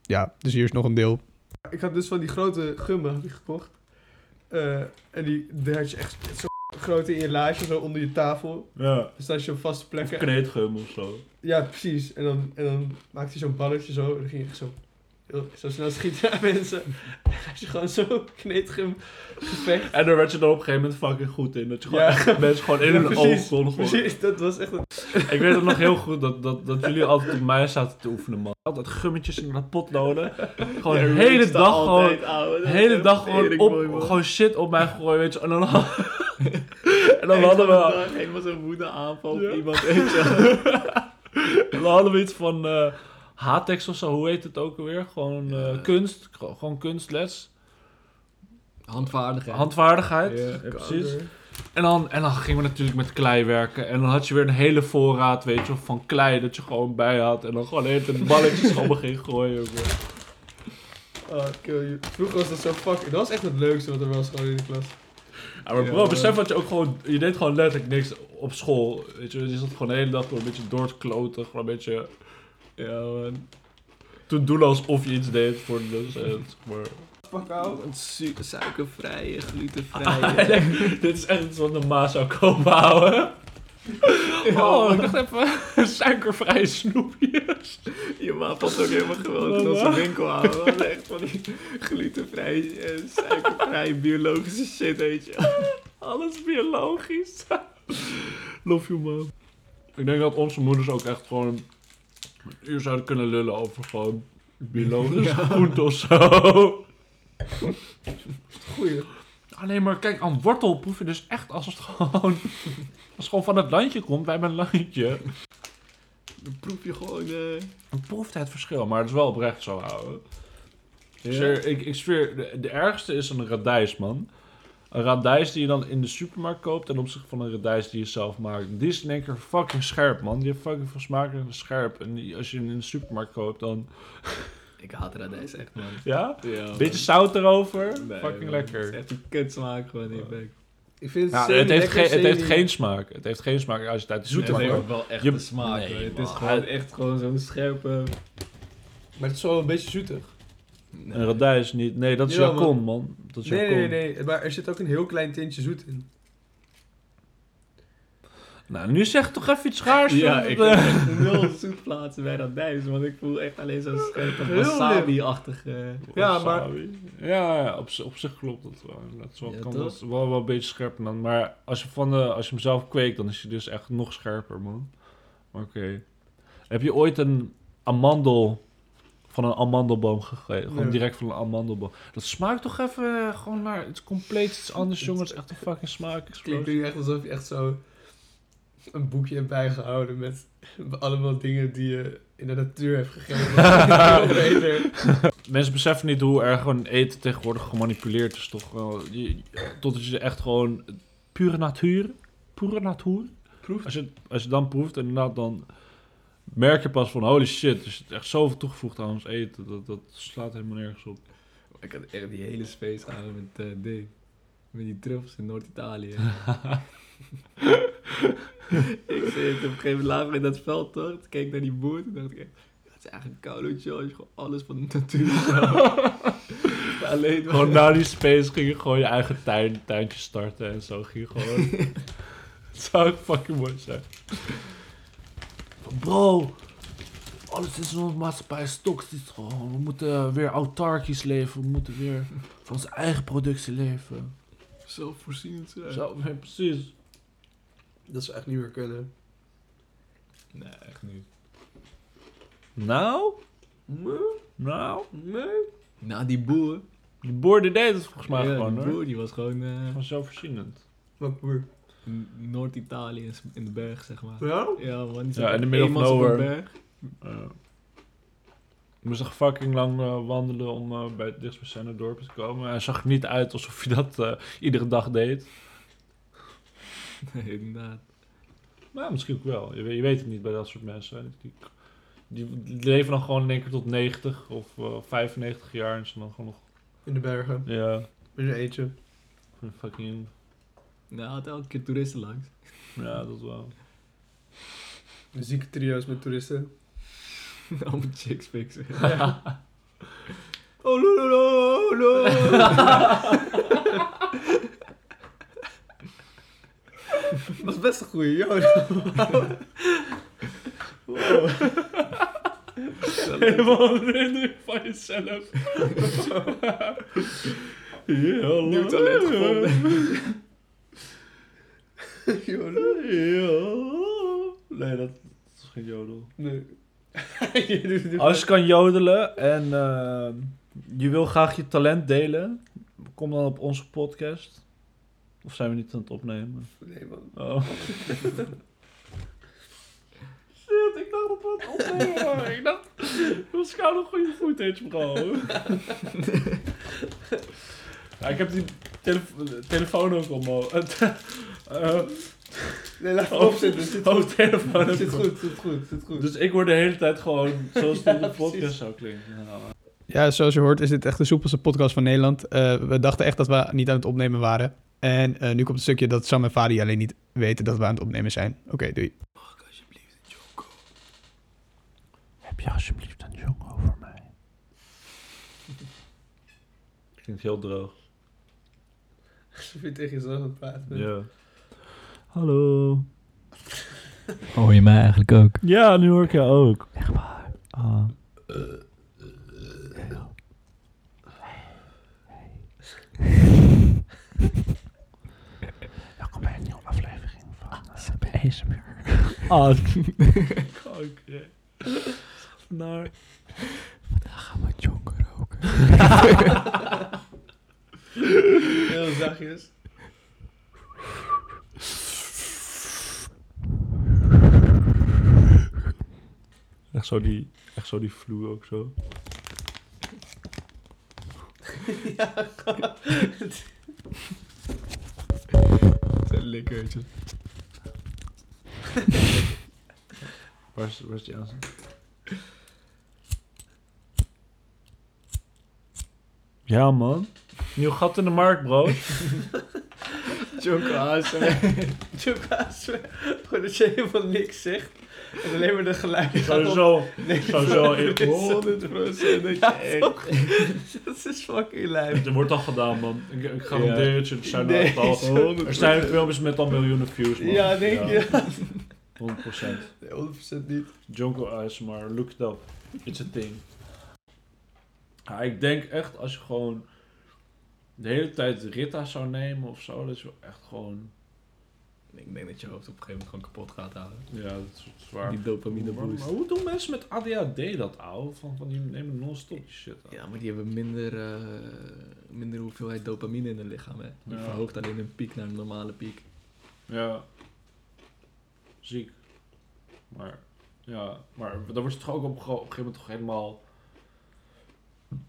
Speaker 4: Ja, dus hier is nog een deel.
Speaker 2: Ik had dus van die grote gummen had ik gekocht. Eh, en die, daar had je echt zo grote in je laadje, zo onder je tafel.
Speaker 1: Ja.
Speaker 2: Dus als je op vaste plekken...
Speaker 1: Kneedgum of zo.
Speaker 2: Ja, precies. En dan, en dan maakte hij zo'n balletje zo. En dan ging je echt zo, heel- zo snel schieten naar mensen. En dan had je gewoon zo kneedgem gevecht.
Speaker 1: En daar werd je dan op een gegeven moment fucking goed in. Dat je gewoon
Speaker 2: Ja.
Speaker 1: echt mensen gewoon in
Speaker 2: Ja,
Speaker 1: hun oog
Speaker 2: precies,
Speaker 1: kon gooien.
Speaker 2: Precies, dat was echt een...
Speaker 1: Ik weet het nog heel goed dat, dat, dat jullie altijd op mij zaten te oefenen, man. Altijd gummetjes in dat potloden. Gewoon de hele dag gewoon... De hele dag gewoon, op, gewoon shit op mij gooien, weet je. En dan, en dan hadden we...
Speaker 3: Helemaal zo'n woede aanval
Speaker 2: Ja.
Speaker 3: op iemand. weet je
Speaker 1: We hadden we iets van eh Hatex of zo, hoe heet het ook alweer? Gewoon eh, kunst, gro- gewoon kunstles,
Speaker 3: wel. Handvaardigheid.
Speaker 1: handvaardigheid.
Speaker 3: Ja,
Speaker 1: Ja, precies. En dan, en dan gingen we natuurlijk met klei werken. En dan had je weer een hele voorraad, weet je, wel, van klei dat je gewoon bij had. En dan gewoon even balletjes gewoon ging gooien. bro.
Speaker 2: Oh, kill you. Vroeger was dat zo fucking... Dat was echt het leukste wat er was gewoon in de klas.
Speaker 1: Ja, maar
Speaker 2: Ja,
Speaker 1: bro,
Speaker 2: maar-
Speaker 1: besef dat je ook gewoon, je deed gewoon letterlijk niks op school. Weet je, wel. je zat gewoon de hele dag door een beetje door te kloten, gewoon een beetje... Ja, man. Toen doen alsof je iets deed voor de docent, maar...
Speaker 2: Fuck out.
Speaker 3: Oh, Een su- suikervrije, glutenvrije.
Speaker 1: Oh, Ah, Dit is echt iets wat de ma zou komen houden. Oh, ik dacht even suikervrije snoepjes.
Speaker 3: Je ma past ook helemaal gewoon in onze winkel aan. We hadden echt van die glutenvrij, eh, suikervrij, biologische shit, weet je.
Speaker 1: Alles biologisch. Love you, man. Ik denk dat onze moeders ook echt gewoon een uur zouden kunnen lullen over gewoon biologisch goed of zo.
Speaker 2: Goeie.
Speaker 1: Ah, nee, maar kijk, aan wortel proef je dus echt als het gewoon, als het gewoon van het landje komt. Wij hebben een landje.
Speaker 3: Dan proef je gewoon... eh,
Speaker 1: Dan proeft het verschil, maar het is wel oprecht zo houden. Ik
Speaker 3: ja.
Speaker 1: zweer- ik, ik zweer, de, de ergste is een radijs, man. Een radijs die je dan in de supermarkt koopt ten opzichte van een radijs die je zelf maakt. Die is in één keer fucking scherp, man. Die heeft fucking veel smaak en is scherp. En die- als je hem in de supermarkt koopt, dan...
Speaker 3: Ik haat radijs echt, man.
Speaker 1: Ja?
Speaker 3: Ja, man.
Speaker 1: Beetje zout erover.
Speaker 3: Nee,
Speaker 1: fucking
Speaker 3: man. Het is
Speaker 1: lekker.
Speaker 3: echt een kutsmaak gewoon
Speaker 2: Oh.
Speaker 3: in je bek.
Speaker 2: Ik vind het
Speaker 1: Ja,
Speaker 2: semi
Speaker 1: het, heeft
Speaker 2: lekker,
Speaker 1: geen, het heeft
Speaker 2: semi-
Speaker 1: geen smaak. Het heeft geen smaak als je het uit de
Speaker 3: Het
Speaker 1: supermarkt
Speaker 3: heeft
Speaker 1: koopt.
Speaker 3: ook wel echt
Speaker 1: Je-
Speaker 3: een smaak,
Speaker 1: Nee,
Speaker 3: hoor. Het is
Speaker 1: man.
Speaker 3: gewoon echt gewoon zo'n scherpe...
Speaker 2: Maar het is wel een beetje zoetig.
Speaker 1: Een radijs niet. Nee, dat is
Speaker 2: Jawel,
Speaker 1: jouw
Speaker 2: man.
Speaker 1: kon, man. Dat is jouw
Speaker 2: Nee,
Speaker 1: kon.
Speaker 2: nee, nee. Maar er zit ook een heel klein tintje zoet in.
Speaker 1: Nou, nu zeg toch even iets raars.
Speaker 3: Ja,
Speaker 1: joh.
Speaker 3: ik heb echt nul zoet plaatsen bij radijs, want ik voel echt alleen zo'n scherpe
Speaker 2: Heel
Speaker 3: wasabi-achtige...
Speaker 1: Oh,
Speaker 2: Ja, maar-
Speaker 1: Wasabi. Ja, ja, op, zi- op zich klopt dat wel. Dat is wel,
Speaker 3: Ja,
Speaker 1: kan
Speaker 3: toch?
Speaker 1: dat wel, wel een beetje scherper dan. Maar als je, van de, als je hem zelf kweekt, dan is hij dus echt nog scherper, man. Oké. Heb je ooit een amandel van een amandelboom gegeten? Gewoon
Speaker 2: Nee.
Speaker 1: direct van een amandelboom. Dat smaakt toch even eh, gewoon naar iets compleet iets anders, jongen. Het is echt een fucking smaak.
Speaker 2: Het klinkt nu echt alsof je echt zo een boekje hebt bijgehouden met allemaal dingen die je in de natuur hebt gegeven. Dat is veel beter.
Speaker 1: Mensen beseffen niet hoe erg gewoon eten tegenwoordig gemanipuleerd is, toch? Wel, je- Totdat je echt gewoon eh, pure natuur, pure natuur
Speaker 2: Proef.
Speaker 1: Als je, als je dan proeft, inderdaad, dan merk je pas van holy shit, er zit echt zoveel toegevoegd aan ons eten. Dat, dat slaat helemaal nergens op.
Speaker 3: Ik had echt die hele space aan met eh ding. Met die truffels in Noord-Italië. ik zit op een gegeven moment laag in dat veld toch. Toen keek ik naar die boer. Toen dacht ik, echt, ja, het is eigenlijk een koulootje. Als je gewoon alles van de natuur haalt. Maar Alleen maar-
Speaker 1: Gewoon eh, na die space ging je gewoon je eigen tuin, tuintje starten en zo. Ging je gewoon. Het zou ook fucking mooi zijn. Bro, alles is in onze maatschappij stokstisch gewoon. We moeten weer autarkisch leven. We moeten weer van onze eigen productie leven.
Speaker 3: zelfvoorzienend zijn.
Speaker 1: Zo, precies.
Speaker 2: Dat zou echt niet meer kunnen.
Speaker 3: Nee, echt niet.
Speaker 1: Nou? Nou?
Speaker 2: Nee.
Speaker 3: Nou, die boer.
Speaker 1: De boer die deed het volgens mij
Speaker 3: ja,
Speaker 1: gewoon
Speaker 3: die
Speaker 1: hoor.
Speaker 3: boer die was gewoon eh,
Speaker 1: Van zelfvoorzienend.
Speaker 2: Wat boer.
Speaker 3: in Noord-Italië in- in de berg, zeg maar.
Speaker 2: Ja?
Speaker 3: Ja, man. Die
Speaker 1: Ja,
Speaker 3: zat
Speaker 1: in the middle of
Speaker 3: eenmaal op een
Speaker 1: nowhere.
Speaker 3: berg.
Speaker 1: Ja. Ik moest echt Eh, fucking lang eh, wandelen om eh, bij het dichtstbijzijnde dorp te komen. Hij zag er niet uit alsof je dat eh, iedere dag deed.
Speaker 3: Nee, inderdaad.
Speaker 1: Maar Nou, misschien ook wel. Je, weet- je weet het niet bij dat soort mensen. hè. Die, die- die leven dan gewoon in één keer tot 90 of eh, 95 jaar en zijn dan gewoon nog...
Speaker 2: In de bergen.
Speaker 1: Ja,
Speaker 2: In een eentje.
Speaker 1: fucking...
Speaker 3: Nou, had elke keer toeristen langs.
Speaker 1: Ja, dat wel.
Speaker 2: Zieke trio's met toeristen.
Speaker 3: Allemaal chicks fixen.
Speaker 4: Oh, lo, lo, lo, lo.
Speaker 2: Dat was best een goeie, joh.
Speaker 1: Helemaal herinnering van jezelf. Ja, hallo.
Speaker 2: Nieuw talent
Speaker 1: Jodel. Ja. Nee, dat is geen jodel.
Speaker 2: Nee. Je doet het
Speaker 1: Als je kan jodelen en eh, je wil graag je talent delen, kom dan op onze podcast. Of zijn we niet aan het opnemen?
Speaker 2: niet. Nee, man.
Speaker 1: Oh. Shit, ik dacht dat we het opnemen waren. Ik dacht, we gaan een goede footage, bro. ja, ik heb die telefo- telefoon ook omhoog. Eh,
Speaker 2: Nee, laat het
Speaker 1: Oh.
Speaker 2: opzetten. Het zit
Speaker 1: oh,
Speaker 2: goed.
Speaker 1: telefoon
Speaker 2: Het
Speaker 1: ook
Speaker 2: zit
Speaker 1: omhoog.
Speaker 2: goed, het zit goed, het zit goed.
Speaker 1: Dus ik word de hele tijd gewoon zoals het op de podcast
Speaker 2: precies.
Speaker 1: zou klinken. Nou,
Speaker 4: Ja, zoals je hoort is dit echt de soepelste podcast van Nederland. Eh, we dachten echt dat we niet aan het opnemen waren. En eh, nu komt het stukje dat Sam en Fadi alleen niet weten dat we aan het opnemen zijn. Oké, doei.
Speaker 1: Heb je alsjeblieft een jong over mij? Klinkt heel droog.
Speaker 2: Alsof je tegen jezelf aan het praten bent.
Speaker 1: Ja. Hallo.
Speaker 3: Hoor je mij eigenlijk ook?
Speaker 1: Ja, nu hoor ik jou ook. Welkom bij een nieuwe aflevering van ASMR. Ah, kanker. Naar...
Speaker 3: Vandaag gaan we jonker roken.
Speaker 2: Heel zachtjes.
Speaker 1: Echt zo die, echt zo die vloer ook zo.
Speaker 4: Lekkertje.
Speaker 1: Waar is, waar is die aanzet? Ja, man. Nieuw gat in de markt, bro.
Speaker 2: Joker
Speaker 1: Ah,
Speaker 2: ASMR. Joker ASMR. Gewoon dat je helemaal niks zegt. En alleen maar de geluiden. gaan op-
Speaker 1: Sowieso.
Speaker 2: Nee,
Speaker 1: Sowieso.
Speaker 2: dat is-
Speaker 1: 100% dat
Speaker 2: Ja, toch? Dat is fucking lijp.
Speaker 1: Het wordt al gedaan, man. Ik, ik garandeer het je. Er zijn,
Speaker 2: Nee,
Speaker 1: echt al,
Speaker 2: zo-
Speaker 1: er zijn filmpjes met al miljoenen views, man.
Speaker 2: Ja, denk je?
Speaker 1: 100%.
Speaker 2: Nee, 100% niet.
Speaker 1: Jungle ASMR, look it up. It's a thing. Ja, ik denk echt als je gewoon de hele tijd Rita zou nemen of zo, dat is wel echt gewoon...
Speaker 3: Ik denk dat je hoofd op een gegeven moment gewoon kapot gaat halen.
Speaker 1: Ja, dat is zwaar.
Speaker 3: Die dopamine
Speaker 1: Maar, maar
Speaker 3: boost.
Speaker 1: hoe doen mensen met ADHD dat, ouwe? Van, van die nemen non-stop die shit aan.
Speaker 3: Ja, maar die hebben minder, eh, minder hoeveelheid dopamine in hun lichaam, hè. Die
Speaker 1: Ja.
Speaker 3: verhoogt alleen hun piek naar een normale piek.
Speaker 1: Ja. Ziek. Maar, ja. Maar daar wordt je toch ook op, ge- op een gegeven moment toch helemaal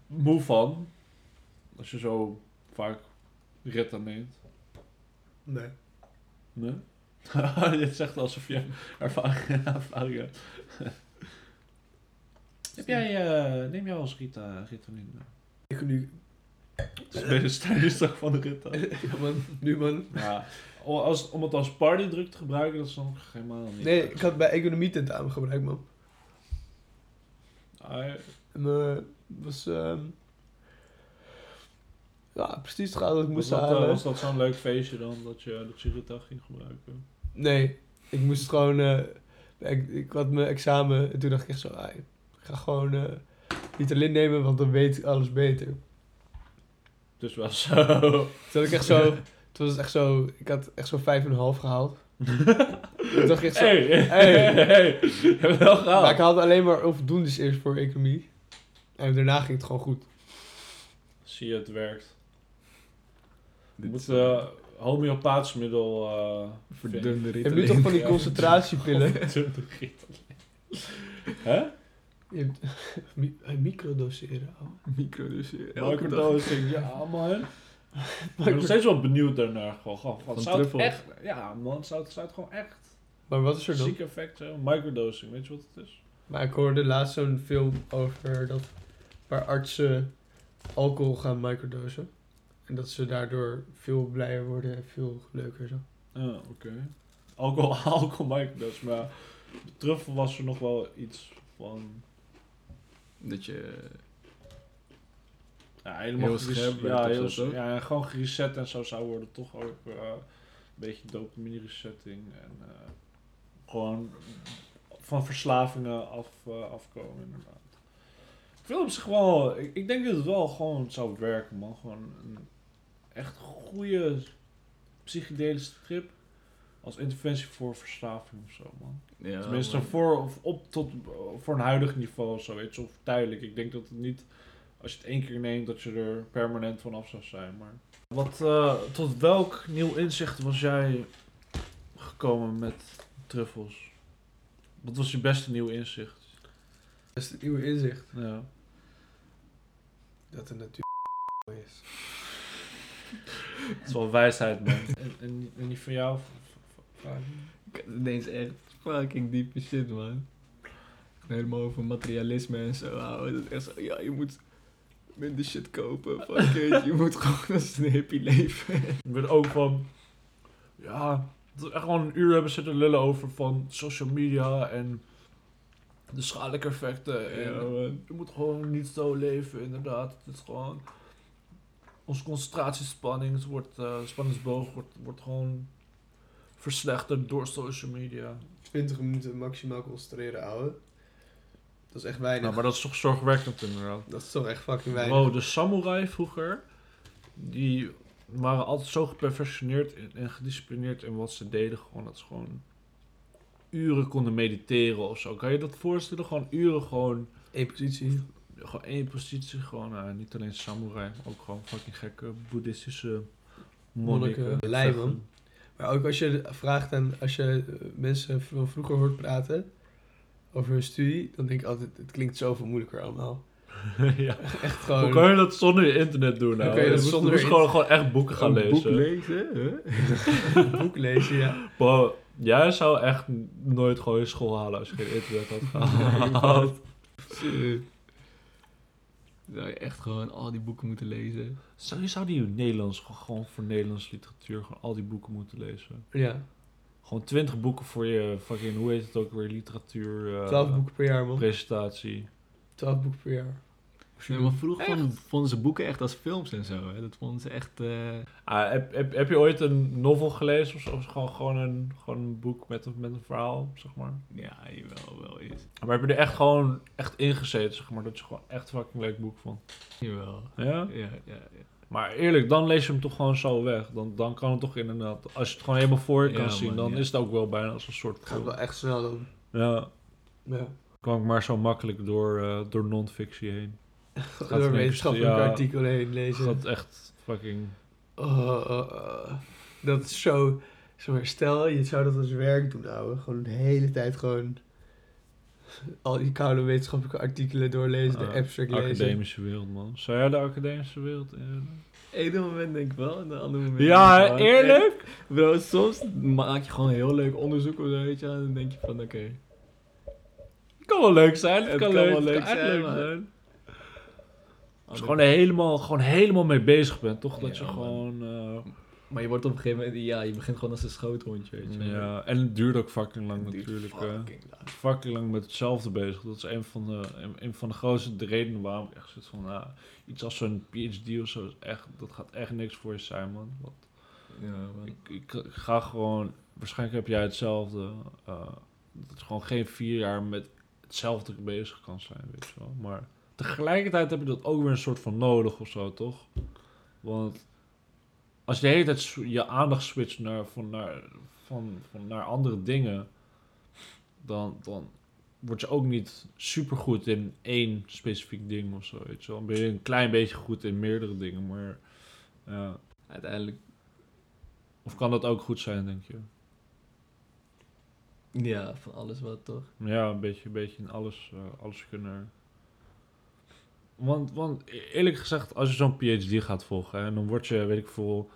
Speaker 1: moe van. Als je zo vaak Retta neemt.
Speaker 2: Nee.
Speaker 1: Nee? je zegt alsof je ervaring, ervaring hebt. Heb jij, eh, neem jij wel eens Rita, Ritalin?
Speaker 2: Ik nu.
Speaker 1: Het is bij de stijlsdag van de Rita.
Speaker 2: Ja, man. Nu, man.
Speaker 1: Ja, o- als, om het als partydruk te gebruiken, dat is dan helemaal niet.
Speaker 2: Nee, ik had bij economie tentamen gebruikt, man.
Speaker 1: Ah,
Speaker 2: En, eh, was. ehm, ja, precies het gaat wat ik
Speaker 1: was,
Speaker 2: moest
Speaker 1: dat, eh,
Speaker 2: halen.
Speaker 1: was dat zo'n leuk feestje dan, dat je, dat je Rita ging gebruiken?
Speaker 2: Nee, ik moest gewoon. eh, ik, ik had mijn examen en toen dacht ik echt zo. ah, ik ga gewoon eh Ritalin nemen, want dan weet ik alles beter.
Speaker 1: Dus wel zo.
Speaker 2: Toen had ik echt zo. Toen was het echt zo. Ik had echt zo 5,5 gehaald. toen dacht ik echt zo.
Speaker 1: Hey, hey,
Speaker 2: Hey.
Speaker 1: hey, je hebt het wel gehaald.
Speaker 2: Maar ik haalde alleen maar onvoldoendes eerst voor economie. En daarna ging het gewoon goed.
Speaker 1: Zie je, het werkt. Je
Speaker 3: Dit
Speaker 1: moet
Speaker 3: is wel
Speaker 1: eh homeopathisch middel... eh vinden.
Speaker 3: verdunde
Speaker 2: Je hebt
Speaker 3: ritalin.
Speaker 2: nu toch van die
Speaker 1: Ja.
Speaker 2: concentratiepillen?
Speaker 1: Verdunde Ritalin. Hè?
Speaker 2: Je hebt mi- eh, microdoseren. ouwe.
Speaker 3: micro dus eh, elke dag.
Speaker 1: Microdosing, ja man. Ik ben nog steeds wel benieuwd daarnaar. Gewoon, gewoon,
Speaker 3: Van
Speaker 1: zou het
Speaker 3: truffel.
Speaker 1: echt... Ja man, zou het, zou het gewoon echt...
Speaker 2: Maar wat is er dan?
Speaker 1: Ziek effect, hè? microdosing, weet je wat het is?
Speaker 2: Maar ik hoorde laatst zo'n film over dat waar artsen alcohol gaan microdosen. En dat ze daardoor veel blijer worden en veel leuker zo.
Speaker 1: Ah, oké. Alcohol, alcohol microdosing, maar de truffel was er nog wel iets van.
Speaker 3: Dat je
Speaker 1: Ja, helemaal
Speaker 3: Heel
Speaker 1: geres-
Speaker 3: scherp werd
Speaker 1: ja,
Speaker 3: of
Speaker 1: heel,
Speaker 3: zo, toch?
Speaker 1: ja, gewoon gereset en zo zou worden. Toch ook eh, een beetje dopamine resetting. En eh, gewoon van verslavingen af, eh, afkomen inderdaad. Ik vind op zich wel... Ik, ik denk dat het wel gewoon zou werken, man. Gewoon een echt goede psychedelische trip. Als interventie voor verslaving of zo, man.
Speaker 3: Ja,
Speaker 1: Tenminste,
Speaker 3: maar-
Speaker 1: voor, of op tot, eh, voor een huidig niveau of zoiets, of tijdelijk. Ik denk dat het niet, als je het één keer neemt, dat je er permanent van af zou zijn. Maar... Wat, eh, tot welk nieuw inzicht was jij gekomen met truffels? Wat was je beste nieuw inzicht?
Speaker 5: Dat is het nieuwe inzicht.
Speaker 1: Ja.
Speaker 5: Dat de natuur is.
Speaker 1: Het is wel wijsheid, man. en, en, en die van jou?
Speaker 3: Ik had ineens echt fucking diepe shit, man. Ik ben Helemaal over materialisme en zo houden. Dat is echt zo, ja, je moet minder shit kopen. Fuck it, je moet gewoon als een hippie leven.
Speaker 1: Ik ben ook van, ja, dat we echt gewoon een uur hebben zitten lullen over van social media en de schadelijke effecten. En
Speaker 3: Ja, man.
Speaker 1: Je moet gewoon niet zo leven, inderdaad. Het is gewoon. Onze concentratiespanning het wordt, eh, spanningsboog wordt, wordt gewoon verslechterd door social media.
Speaker 5: 20 minuten maximaal concentreren, ouwe. Dat is echt weinig.
Speaker 1: Nou, maar dat is toch zorgwekkend, inderdaad.
Speaker 5: Dat is toch echt fucking weinig.
Speaker 1: Wow, de samurai vroeger, die waren altijd zo geperfectioneerd en, en gedisciplineerd in wat ze deden. Gewoon dat ze gewoon uren konden mediteren of zo. Kan je dat voorstellen? Gewoon uren gewoon,
Speaker 5: Eén positie.
Speaker 1: gewoon één positie. Gewoon eh, niet alleen samurai, ook gewoon fucking gekke boeddhistische monniken.
Speaker 5: Monniken. Lijp, man. Maar ook als je vraagt aan, als je eh, mensen van vroeger hoort praten over hun studie, dan denk ik altijd, het klinkt zoveel moeilijker allemaal.
Speaker 1: ja.
Speaker 5: Echt
Speaker 1: Hoe
Speaker 5: gewoon.
Speaker 1: kan je dat zonder internet doen? Nou?
Speaker 5: Oh, Hoe kan je dat
Speaker 1: Moest-
Speaker 5: zonder
Speaker 1: moest gewoon,
Speaker 5: internet-
Speaker 1: gewoon echt boeken gaan
Speaker 3: Een
Speaker 1: lezen.
Speaker 3: boek lezen, hè?
Speaker 5: een boek lezen, ja.
Speaker 1: Bro, jij zou echt nooit gewoon je school halen als je geen internet had gehaald.
Speaker 3: Shit. Zou je echt gewoon al die boeken moeten lezen?
Speaker 1: Zou je zou die in Nederlands gewoon- gewoon voor Nederlands literatuur gewoon al die boeken moeten lezen?
Speaker 5: Ja,
Speaker 1: Gewoon twintig boeken voor je fucking, hoe heet het ook weer, literatuur... eh,
Speaker 5: 12 boeken per jaar, man.
Speaker 1: Presentatie.
Speaker 5: 12 boeken per jaar.
Speaker 3: Nee, maar vroeger vonden, vonden ze boeken echt als films en zo, hè? Dat vonden ze echt... eh,
Speaker 1: Ah, heb, heb, heb je ooit een novel gelezen of, zo? Of gewoon, gewoon, een, gewoon een boek met, een- met een verhaal, zeg maar?
Speaker 3: ja, jawel, wel is.
Speaker 1: Maar heb je er echt gewoon echt in gezeten, zeg maar, dat je gewoon echt fucking leuk boek vond?
Speaker 3: Jawel.
Speaker 1: Ja?
Speaker 3: Ja, ja, ja.
Speaker 1: Maar eerlijk, dan lees je hem toch gewoon zo weg. Dan, dan kan het toch inderdaad, als je het gewoon helemaal voor je
Speaker 3: Ja,
Speaker 1: kan zien,
Speaker 3: man,
Speaker 1: dan
Speaker 3: ja.
Speaker 1: is het ook wel bijna als een soort
Speaker 5: Het gaat
Speaker 1: film.
Speaker 5: wel echt snel dan.
Speaker 1: Ja,
Speaker 5: Ja.
Speaker 1: kwam ik maar zo makkelijk door, eh, door non-fictie heen.
Speaker 5: Door een wetenschappelijk
Speaker 1: ja.
Speaker 5: artikel heen lezen.
Speaker 1: Dat echt fucking.
Speaker 5: Oh, oh, oh. Dat is zo... Zeg maar, stel, je zou dat als werk doen, ouwe. Gewoon de hele tijd gewoon... Al die koude wetenschappelijke artikelen doorlezen,
Speaker 1: Ah,
Speaker 5: de abstract lezen.
Speaker 1: Academische wereld, man. Zou jij de academische wereld in?
Speaker 3: Ene moment denk ik wel, en de andere moment...
Speaker 1: Ja,
Speaker 3: denk ik gewoon
Speaker 1: eerlijk?
Speaker 3: echt- Bro, soms maak je gewoon heel leuk onderzoek of zo, weet je wel, En dan denk je van, oké.
Speaker 1: Het kan wel leuk zijn. Het,
Speaker 3: Het
Speaker 1: kan,
Speaker 3: kan
Speaker 1: leuk,
Speaker 3: wel
Speaker 1: het
Speaker 3: leuk
Speaker 1: kan echt
Speaker 3: zijn, Oh,
Speaker 1: leuk
Speaker 3: maar-
Speaker 1: zijn. Als
Speaker 3: als
Speaker 1: je
Speaker 3: ik-
Speaker 1: gewoon helemaal, gewoon helemaal mee bezig bent, toch? Dat
Speaker 3: Ja,
Speaker 1: je
Speaker 3: man.
Speaker 1: gewoon. eh,
Speaker 3: Maar je wordt op een gegeven moment... Ja, je begint gewoon als een schoothondje, weet je wel.
Speaker 1: ja, en het duurt ook fucking lang
Speaker 3: Het duurt
Speaker 1: natuurlijk. hè.
Speaker 3: fucking lang.
Speaker 1: fucking lang met hetzelfde bezig. Dat is een van de, een, een van de grootste redenen waarom ik echt zit van, nou, iets als zo'n PhD of zo, is echt, dat gaat echt niks voor je zijn, man. Want
Speaker 3: Ja, man.
Speaker 1: Ik, ik, ik ga gewoon, waarschijnlijk heb jij hetzelfde. eh, dat je gewoon geen vier jaar met hetzelfde bezig kan zijn, weet je wel. Maar tegelijkertijd heb je dat ook weer een soort van nodig of zo, toch? Want als je de hele tijd s- je aandacht switcht naar, van, naar, van, van, naar andere dingen, dan, dan word je ook niet supergoed in één specifiek ding of zo, weet je wel. Dan ben je een klein beetje goed in meerdere dingen, maar... ja.
Speaker 3: Uiteindelijk...
Speaker 1: Of kan dat ook goed zijn, denk je?
Speaker 3: Ja, van alles wat, toch?
Speaker 1: Ja, een beetje, een beetje in alles, eh, alles kunnen. Want, want e-, eerlijk gezegd, als je zo'n PhD gaat volgen, hè, dan word je, weet ik veel,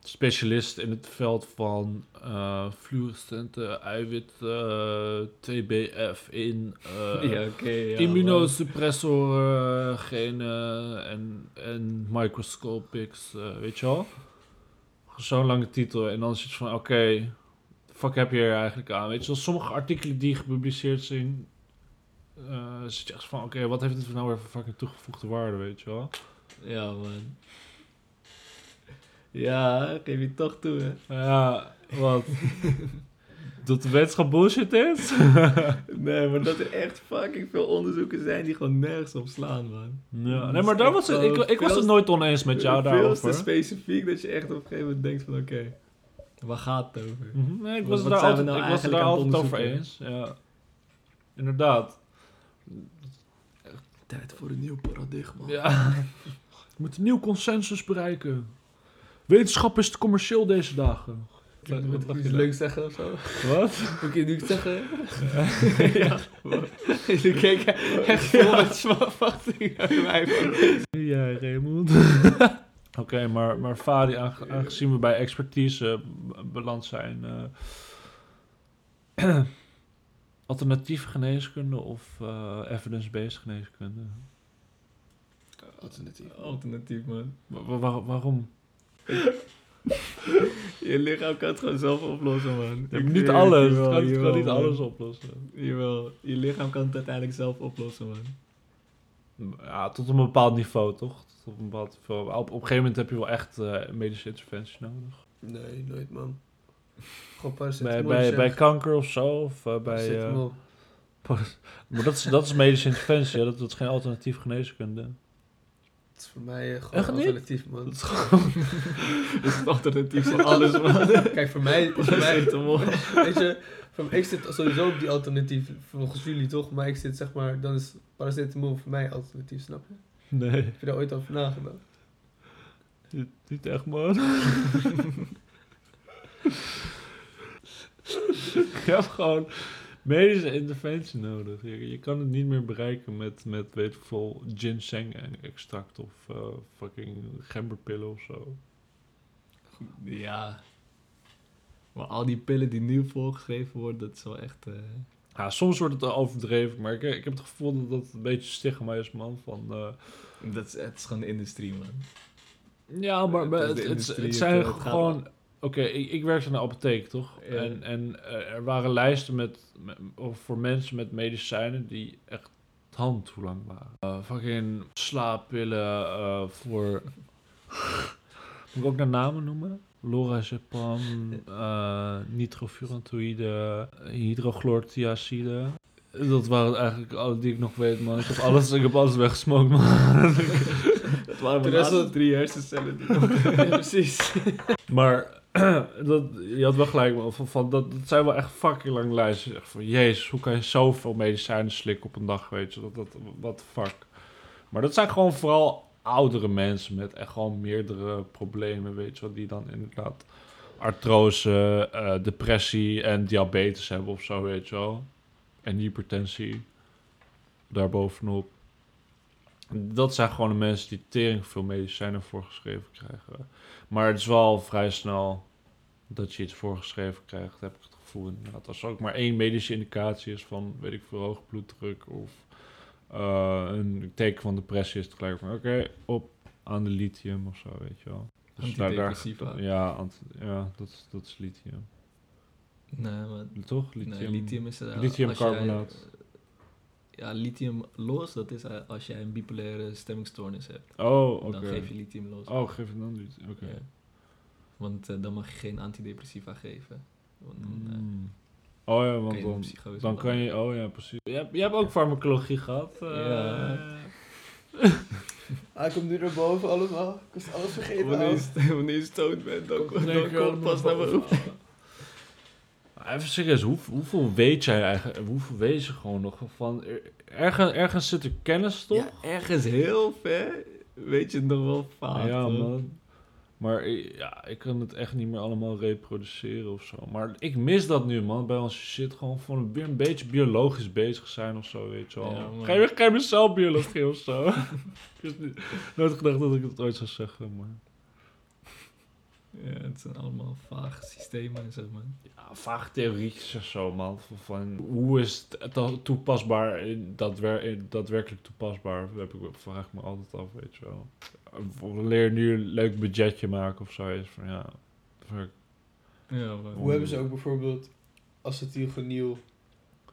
Speaker 1: specialist in het veld van eh fluorescente eiwit eh, TBF in eh,
Speaker 3: ja, oké, ja,
Speaker 1: immunosuppressoren, eh, genen en, en microscopics, eh, weet je wel? Zo'n lange titel. En dan is het van, oké, fuck heb je er eigenlijk aan? Weet je wel, sommige artikelen die gepubliceerd zijn, eh zit je echt van, oké, wat heeft dit nou weer voor fucking toegevoegde waarde, weet je wel?
Speaker 3: Ja, man. Ja, geef je toch toe, hè?
Speaker 1: Ja, wat? dat de wetenschap bullshit is?
Speaker 3: Nee, maar dat er echt fucking veel onderzoeken zijn die gewoon nergens op slaan, man.
Speaker 1: Ja. Nee, maar daar was het, ik, ik was het nooit oneens met jou
Speaker 3: Veel te
Speaker 1: daarover.
Speaker 3: specifiek dat je echt op een gegeven moment denkt van, oké, waar gaat het over?
Speaker 1: Mhm, Nee, ik
Speaker 3: Wat-
Speaker 1: was het
Speaker 3: wat
Speaker 1: daar
Speaker 3: zijn we
Speaker 1: altijd,
Speaker 3: nou
Speaker 1: ik was het
Speaker 3: eigenlijk
Speaker 1: daar
Speaker 3: aan het
Speaker 1: altijd over eens.
Speaker 3: onderzoeken?
Speaker 1: Ja. Inderdaad.
Speaker 3: Tijd voor een nieuw paradigma.
Speaker 1: Ja. We moeten nieuw consensus bereiken. Wetenschap is te commercieel deze dagen. Wat-
Speaker 5: Moet
Speaker 1: wat
Speaker 5: ik
Speaker 1: lach
Speaker 5: iets
Speaker 1: je daar?
Speaker 5: leuks zeggen of zo?
Speaker 1: Wat?
Speaker 5: Moet ik nu iets zeggen?
Speaker 3: ja.
Speaker 5: Jullie keken echt vol met verwachting naar mij.
Speaker 1: Ja, Raymond. Oké, maar, maar Fadi, aange- aangezien we bij expertise eh, b- beland zijn... eh, alternatieve geneeskunde of eh, evidence-based geneeskunde?
Speaker 5: Alternatief.
Speaker 3: Alternatief, man.
Speaker 1: Wa- wa- waar- waarom?
Speaker 3: Je lichaam kan het gewoon zelf oplossen, man. Ik
Speaker 1: niet
Speaker 3: zweer
Speaker 1: alles.
Speaker 3: het
Speaker 1: Het
Speaker 3: je wel,
Speaker 1: kan,
Speaker 3: je
Speaker 1: het kan
Speaker 3: wel,
Speaker 1: niet
Speaker 3: man.
Speaker 1: alles oplossen.
Speaker 3: Jawel, je lichaam kan het uiteindelijk zelf oplossen, man.
Speaker 1: Ja, tot een bepaald niveau, toch? Tot een bepaald niveau. Op, op een gegeven moment heb je wel echt eh, medische interventie nodig.
Speaker 5: Nee, nooit man. Gewoon
Speaker 1: Bij,
Speaker 5: paracetamol.
Speaker 1: bij,
Speaker 5: zeg.
Speaker 1: bij kanker of zo. Of, eh, bij, eh,
Speaker 5: Paracetamol.
Speaker 1: maar dat is, dat is medische interventie, hè? Dat, dat is geen alternatief geneeskunde.
Speaker 5: Het is voor mij eh, gewoon
Speaker 1: Echt niet?
Speaker 5: alternatief man.
Speaker 1: Dat is gewoon...
Speaker 3: Dat is het alternatief voor alles, man.
Speaker 5: Kijk, voor mij, voor mij weet je, voor, ik zit sowieso op die alternatief, volgens jullie toch? Maar ik zit zeg maar, dan is paracetamol voor mij alternatief, snap je?
Speaker 1: Nee,
Speaker 5: Heb je daar ooit over nagedacht?
Speaker 1: niet- niet echt, man. je hebt gewoon medische interventie nodig. Je, je kan het niet meer bereiken met, met weet ik veel, ginseng-extract of eh, fucking gemberpillen of zo.
Speaker 3: Ja. Maar al die pillen die nu voorgeschreven worden, dat is wel echt... eh,
Speaker 1: Ja, soms wordt het overdreven, maar ik, ik heb het gevoel dat dat een beetje stigma is, man. Van, eh,
Speaker 3: dat is, het is gewoon de industrie, man.
Speaker 1: Ja, maar, maar het,
Speaker 3: Het is Eh, de
Speaker 1: het,
Speaker 3: industrie,
Speaker 1: het
Speaker 3: het,
Speaker 1: zijn
Speaker 3: eh, het gaat
Speaker 1: gewoon... Oké, ik, ik werkte in de apotheek, toch?
Speaker 3: Ja.
Speaker 1: En, en eh, er waren lijsten met, met- of voor mensen met medicijnen die echt handtoelang waren. Eh, fucking slaappillen eh, voor... Moet ik ook naar namen noemen? Lorazepam, eh nitrofurantoïde, hydrochlortiazide. Dat waren eigenlijk alle die ik nog weet, man. Ik heb alles, ik heb alles weggesmokt, man.
Speaker 3: Dat waren
Speaker 5: De
Speaker 3: mijn
Speaker 5: rest
Speaker 3: laatste
Speaker 5: was-
Speaker 3: drie hersencellen. die-
Speaker 5: ja, precies.
Speaker 1: Maar dat, je had wel gelijk, man, van, van, dat, dat zijn wel echt fucking lang lijsten. Echt van, jezus, hoe kan je zoveel medicijnen slikken op een dag, weet je? Dat, dat, what the fuck. Maar dat zijn gewoon vooral oudere mensen met echt gewoon meerdere problemen, weet je wel, Die dan inderdaad artrose, eh, depressie en diabetes hebben of zo, weet je wel. En hypertensie daarbovenop. Dat zijn gewoon de mensen die tering veel medicijnen voorgeschreven krijgen. Maar het is wel vrij snel dat je iets voorgeschreven krijgt, heb ik het gevoel. Inderdaad. Als er ook maar één medische indicatie is van, weet ik veel, hoge bloeddruk of eh, een teken van depressie, is het gelijk van, oké, op aan de lithium of zo, weet je wel. Dus daar- daar-
Speaker 3: Antidepressiva.
Speaker 1: ja, ant- ja dat, dat is lithium.
Speaker 3: Nee, man.
Speaker 1: Toch?
Speaker 3: Nee,
Speaker 1: Lithium.
Speaker 3: lithium is... eh,
Speaker 1: lithiumcarbonaat.
Speaker 3: als jij, eh, Ja, lithium los, dat is eh, als jij een bipolaire stemmingstoornis hebt.
Speaker 1: Oh, oké.
Speaker 3: Dan geef je lithium los.
Speaker 1: Oh, geef het dan lithium. Oké.
Speaker 3: Ja. Want eh, dan mag je geen antidepressiva geven. Want dan eh,
Speaker 1: Mm. Oh ja,
Speaker 3: kan je
Speaker 1: want
Speaker 3: in een
Speaker 1: dan,
Speaker 3: psychose
Speaker 1: dan kan
Speaker 3: belanden.
Speaker 1: je... Oh ja, precies. Je hebt, je hebt ook farmacologie gehad. eh.
Speaker 3: Ja.
Speaker 5: Ah, Hij komt nu naar boven allemaal. Ik was alles vergeten.
Speaker 3: Wanneer
Speaker 5: ouwe.
Speaker 3: je st- Wanneer je stoned bent, dan,
Speaker 1: Komt
Speaker 3: dan,
Speaker 1: in één keer
Speaker 3: komt pas naar
Speaker 1: allemaal
Speaker 3: boven.
Speaker 1: Maar Even serieus, hoe, hoeveel weet jij eigenlijk, hoeveel weet je gewoon nog van? Er- Ergens, ergens zit er kennis toch?
Speaker 3: Ja, ergens heel ver weet je het nog wel vaak.
Speaker 1: ja,
Speaker 3: hoor.
Speaker 1: man. Maar ik- ja, ik kan het echt niet meer allemaal reproduceren of zo. Maar ik mis dat nu, man. Bij onze shit gewoon van weer een beetje biologisch bezig zijn of zo, weet je wel.
Speaker 3: Ja, man.
Speaker 1: Ga je weer geen celbiologie of zo? ik heb niet- nooit gedacht dat ik het ooit zou zeggen, maar...
Speaker 3: Ja, het zijn allemaal vage systemen en zo, man.
Speaker 1: Ja, vaag theorietjes of zo, man. Van, van hoe is het to- toepasbaar, in daadwer in daadwerkelijk toepasbaar? Heb ik, vraag ik me altijd af, weet je wel. Leer nu een leuk budgetje maken of zo. Is van, ja, fuck.
Speaker 3: Ja, man.
Speaker 5: Hoe hebben ze ook bijvoorbeeld acetyl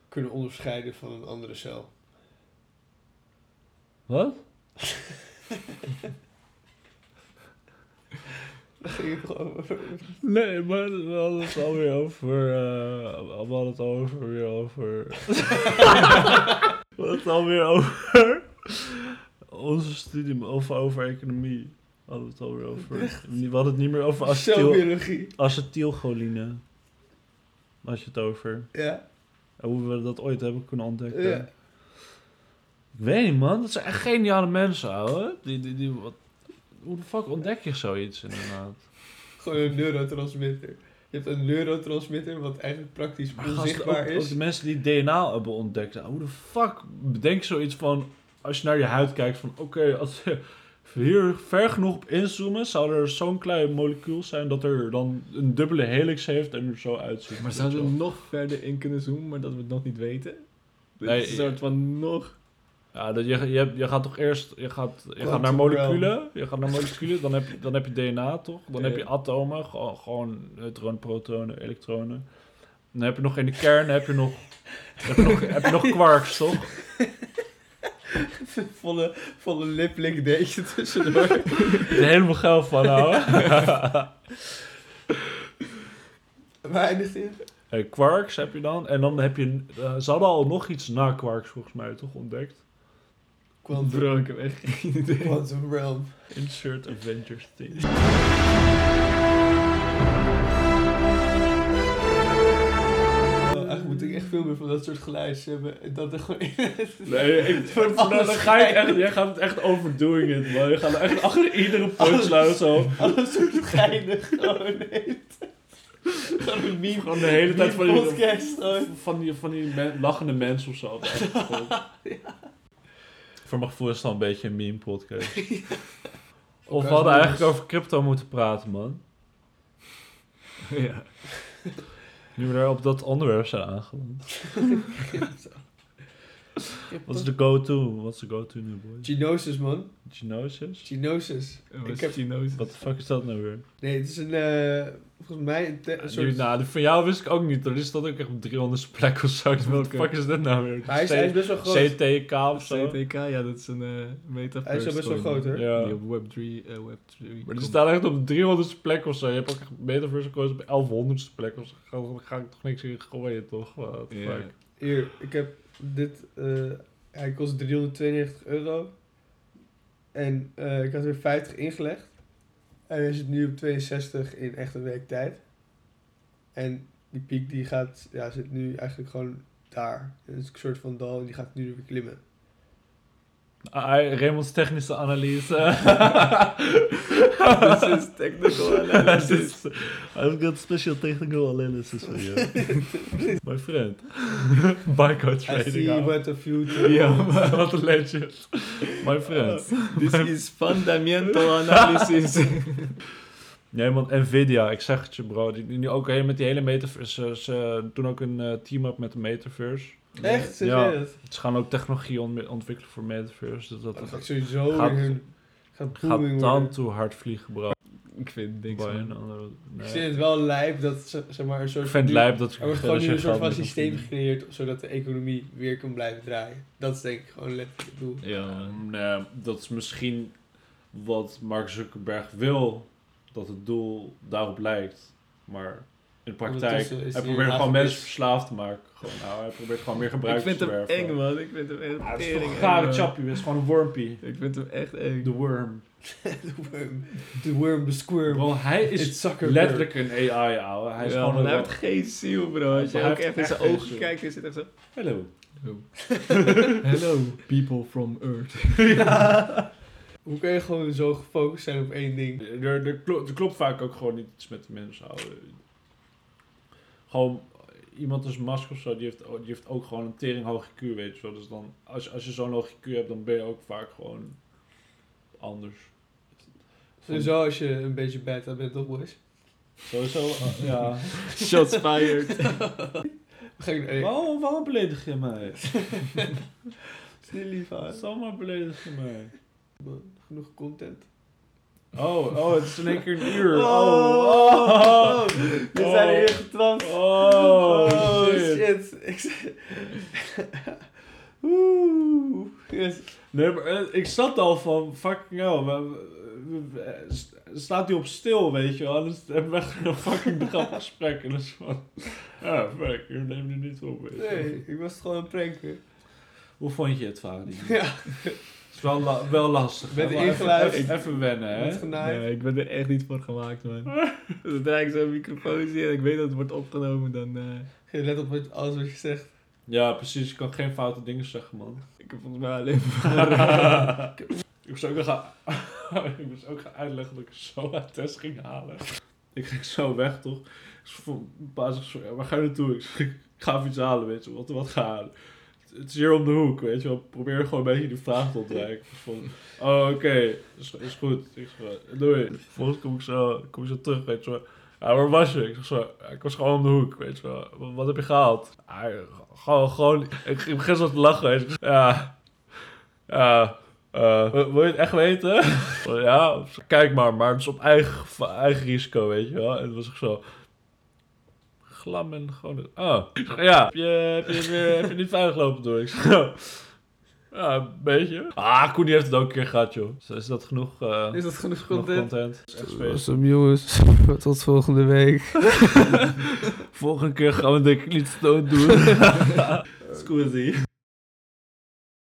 Speaker 5: kunnen onderscheiden van een andere cel?
Speaker 1: Wat?
Speaker 2: ging het gewoon over.
Speaker 1: Nee, maar we hadden het alweer over. eh, we hadden het alweer weer over. we hadden het alweer over. Onze studie, of over economie. We hadden het alweer over. We hadden het niet meer over acetyl,
Speaker 2: Celbiologie.
Speaker 1: acetylcholine. Had je het over.
Speaker 2: Ja.
Speaker 1: En hoe we dat ooit hebben kunnen ontdekken.
Speaker 2: Ja.
Speaker 1: Ik weet niet, man. Dat zijn echt geniale mensen, ouwe. Die, die, die, wat, hoe de fuck ontdek je zoiets, inderdaad?
Speaker 2: Gewoon een neurotransmitter. Je hebt een neurotransmitter wat eigenlijk praktisch
Speaker 1: Maar gasten,
Speaker 2: onzichtbaar
Speaker 1: ook, ook
Speaker 2: is.
Speaker 1: de mensen die DNA hebben ontdekt. nou, hoe de fuck bedenk je zoiets van... Als je naar je huid kijkt van... Oké, als je hier ver genoeg op inzoomen... zou er zo'n klein molecuul zijn... dat er dan een dubbele helix heeft en er zo uitziet.
Speaker 3: Maar zouden we
Speaker 1: Weet je
Speaker 3: nog verder in kunnen zoomen, maar dat we het nog niet weten? Dit
Speaker 1: Nee,
Speaker 3: is een soort van nog...
Speaker 1: wel. Ja, dat, je, je, je gaat toch eerst... Je gaat, je gaat naar
Speaker 2: Quantum
Speaker 1: moleculen. Je gaat naar moleculen. Dan heb, je- dan heb je DNA, toch? Dan heb je
Speaker 3: Ja.
Speaker 1: atomen. Gewoon, gewoon neutronen, protonen, elektronen. Dan heb je nog in de kern... heb je nog... heb je nog, heb je nog quarks, toch?
Speaker 2: Volle, volle lip-link deetje tussendoor.
Speaker 1: Er is helemaal geil van, nou.
Speaker 2: Waar eindigt die?
Speaker 1: Eh, quarks heb je dan. En dan heb je... eh, ze hadden al nog iets na quarks volgens mij toch ontdekt.
Speaker 2: Quantum,
Speaker 3: Bro, ik heb echt geen idee.
Speaker 2: quantum Realm.
Speaker 1: Insert Avengers thing.
Speaker 2: Oh, eigenlijk moet ik echt veel meer van dat soort geluidjes hebben. En Dat er gewoon
Speaker 1: Nee, ik,
Speaker 2: wordt
Speaker 1: nou, dan
Speaker 2: alles
Speaker 1: ga je
Speaker 2: geil.
Speaker 1: echt, jij gaat het echt overdoing in, man. Je gaat er echt achter iedere punchline zo.
Speaker 2: alles soort geinen gewoon heet. Gewoon een meme.
Speaker 1: Gewoon de hele tijd van
Speaker 2: meme
Speaker 1: die,
Speaker 2: podcast. oh.
Speaker 1: van die, van die men- lachende mensen of zo. op de achtergrond. Voor mijn gevoel is het al een beetje een meme podcast. Of we hadden eigenlijk over crypto moeten praten, man.
Speaker 3: Ja.
Speaker 1: Nu we daar op dat onderwerp zijn aangeland. Wat is de go-to? Wat is de go-to nu, boys?
Speaker 2: Genosis, man.
Speaker 1: Genosis?
Speaker 2: Genosis. Ik
Speaker 3: Ik
Speaker 2: heb-
Speaker 3: heb die notes.
Speaker 1: Wat de fuck is dat nou weer?
Speaker 2: Nee, het is een, eh, volgens mij een, te- een soort...
Speaker 1: nou, die van jou wist ik ook niet. Er is dat ook echt op 300 plek of zo. Wat de
Speaker 3: Welke?
Speaker 1: fuck is dit nou weer?
Speaker 2: hij, is, hij is best wel groot.
Speaker 1: CTK of zo.
Speaker 3: CTK, ja, dat is een eh meta
Speaker 2: Hij is wel best wel
Speaker 3: story,
Speaker 2: groot, hoor.
Speaker 1: Ja.
Speaker 3: Die op Web3... eh, Web3
Speaker 1: Maar
Speaker 3: komt.
Speaker 1: die staat echt op 300 plek of zo. Je hebt ook echt Metaverse gekozen op 1100 plek of zo. Ga, ga ik toch niks in gooien, toch? What the
Speaker 3: Ja.
Speaker 1: fuck?
Speaker 2: Hier, ik heb dit. eh, hij kost 392 euro. En eh, ik had er 50 ingelegd. En hij zit nu op 62 in echt een week tijd. En die piek die gaat, ja, zit nu eigenlijk gewoon daar. Het is een soort van dal en die gaat nu weer klimmen.
Speaker 1: Ah, hij- Raymond's technische analyse.
Speaker 3: This is technical analysis.
Speaker 1: This is- I've got special technical analysis for you. My friend. Barcode
Speaker 2: I
Speaker 1: trading.
Speaker 2: see
Speaker 1: hour.
Speaker 2: what the future
Speaker 1: Ja, wat een legend. My friend.
Speaker 3: This is fundamental analysis.
Speaker 1: Nee man, Nvidia, ik zeg het je bro. Die, die nu ook helemaal met die hele metaverse. Ze, ze doen ook een eh, team-up met de metaverse.
Speaker 2: Echt, zeg
Speaker 1: Ja.
Speaker 2: jij dat?
Speaker 1: Ze gaan ook technologie on- ontwikkelen voor metaverse. Dus dat
Speaker 2: Dat gaat
Speaker 1: gaat,
Speaker 2: sowieso
Speaker 1: Gaat-
Speaker 2: weer hun- Gaat booming
Speaker 1: gaat
Speaker 2: worden.
Speaker 1: dan toe hard vliegen bro.
Speaker 3: ik vind niks
Speaker 1: Bij een
Speaker 3: van.
Speaker 1: andere-
Speaker 2: Ik
Speaker 1: nee.
Speaker 2: vind het wel lijp dat, ze- zeg maar, een soort...
Speaker 1: Ik vind het
Speaker 2: nu-
Speaker 1: lijp dat ik
Speaker 2: Er wordt gewoon nu een soort van systeem
Speaker 1: systeem.
Speaker 2: gecreëerd zodat de economie weer kan blijven draaien. Dat is denk ik gewoon letterlijk het doel.
Speaker 1: Ja, nee, dat is misschien wat Mark Zuckerberg wil. Dat het doel daarop lijkt. Maar in de praktijk,
Speaker 2: Ondertussen is
Speaker 1: hij
Speaker 2: hij
Speaker 1: probeert gewoon
Speaker 2: havenklus.
Speaker 1: mensen verslaafd te maken. Gewoon, nou, hij probeert gewoon meer
Speaker 3: Ik
Speaker 1: gebruik
Speaker 3: vind
Speaker 1: te
Speaker 3: hem
Speaker 1: werven.
Speaker 3: eng, man. Ik vind hem echt
Speaker 1: Ja, het is toch
Speaker 3: tering
Speaker 1: een
Speaker 3: eng,
Speaker 1: gare
Speaker 3: man.
Speaker 1: chappie, het is gewoon een wormpie.
Speaker 3: Ik vind hem echt eng.
Speaker 1: De worm.
Speaker 2: De worm, de worm, de squirm.
Speaker 1: Bro, hij
Speaker 2: It's
Speaker 1: is
Speaker 2: Zuckerberg.
Speaker 1: letterlijk een AI, ouwe. Hij is
Speaker 3: Ja,
Speaker 1: gewoon
Speaker 3: man,
Speaker 1: een
Speaker 3: hij heeft
Speaker 1: worm.
Speaker 3: geen ziel, bro. Als je
Speaker 1: Maar hij
Speaker 3: ook
Speaker 1: heeft
Speaker 3: echt in zijn
Speaker 1: echt geen
Speaker 3: ogen
Speaker 1: ziel.
Speaker 3: kijkt, is het echt zo...
Speaker 1: Hallo.
Speaker 3: Hello, people from Earth.
Speaker 2: Hoe kan je gewoon zo gefocust zijn op één ding?
Speaker 1: Er, er klo- er klopt vaak ook gewoon niet iets met de mensen, ouwe. Gewoon, iemand als Musk of zo, die heeft, o- die heeft ook gewoon een tering hoge Q, weet je wel. Dus dan, als, je- als je zo'n hoge Q hebt, dan ben je ook vaak gewoon anders.
Speaker 2: Sowieso als je een beetje beta bent, toch boys?
Speaker 1: Sowieso, ah, ja.
Speaker 3: Shots fired.
Speaker 2: We gaan nee,
Speaker 1: Waarom, waarom beledig je mij?
Speaker 2: is niet lief aan.
Speaker 1: Zomaar beledig je mij.
Speaker 2: Genoeg content.
Speaker 1: Oh, oh, het is in één keer een uur.
Speaker 2: Oh,
Speaker 1: Oh, oh,
Speaker 2: we zijn hier getrans.
Speaker 1: oh, shit.
Speaker 2: Ik zei- Oeh. Yes.
Speaker 1: Nee, maar eh, ik zat al van, fucking hell, we- we- we- eh, s- staat hij op stil, weet je wel. En dan hebben we echt een fucking grappig gesprek. En dat is van, ja, fuck, je neemt nu niet op, weet je wel.
Speaker 5: Nee, ik was gewoon een prank weer.
Speaker 1: Hoe vond je het, Fadi?
Speaker 5: Ja.
Speaker 1: Het is wel, la- wel lastig.
Speaker 5: Met
Speaker 1: hè? Wel even-
Speaker 5: ingeluid.
Speaker 1: Even, even wennen,
Speaker 5: Met
Speaker 1: hè.
Speaker 5: genaaid.
Speaker 3: Nee, ik ben er echt niet voor gemaakt, man. Zodra ik zo'n microfoon zie en ik weet dat het wordt opgenomen, dan... eh,
Speaker 5: Geen let op wat- alles wat je zegt.
Speaker 1: Ja, precies. Ik kan geen foute dingen zeggen, man.
Speaker 3: ik heb volgens mij alleen
Speaker 1: ik moest ook nog gaan, ik moest ook gaan uitleggen dat ik zo uit test ging halen. Ik ging zo weg, toch? Dus voor- pa zegt, zo, ja, waar ga je naartoe? Ik zeg, ik ga even iets halen, weet je wel. Wat, wat ga halen? Het- Het is hier om de hoek, weet je wel. Probeer gewoon een beetje die vraag te ontwijken. Dus van, oh, oké, is, is goed. Ik zeg, eh, doei. Vervolgens kom ik zo, kom ik zo terug, weet je wel. Ja, waar was je? Ik zeg zo, ja, ik was gewoon om de hoek, weet je wel. Wat, wat heb je gehaald? Ja, gewoon, gewoon, ik, ik begin zo te lachen, weet je. Ja, ja, eh, wil wil je het echt weten? ja, kijk maar, maar het is op eigen, geva- eigen risico, weet je wel. En het was echt zo... Glam en gewoon... Oh, Ik zeg, ja, heb je, heb je, weer, heb je niet veilig lopen door? Ik zeg, "Oh, ja, een beetje. Ah, Koen die heeft het ook een keer gehad, joh. Dus is dat genoeg, eh,
Speaker 5: Is dat genoeg
Speaker 1: genoeg
Speaker 5: content?
Speaker 1: content? Dat is echt space.
Speaker 5: Awesome jongens, tot volgende week.
Speaker 1: Volgende keer gaan we denk ik niet stoot doen. Scusi.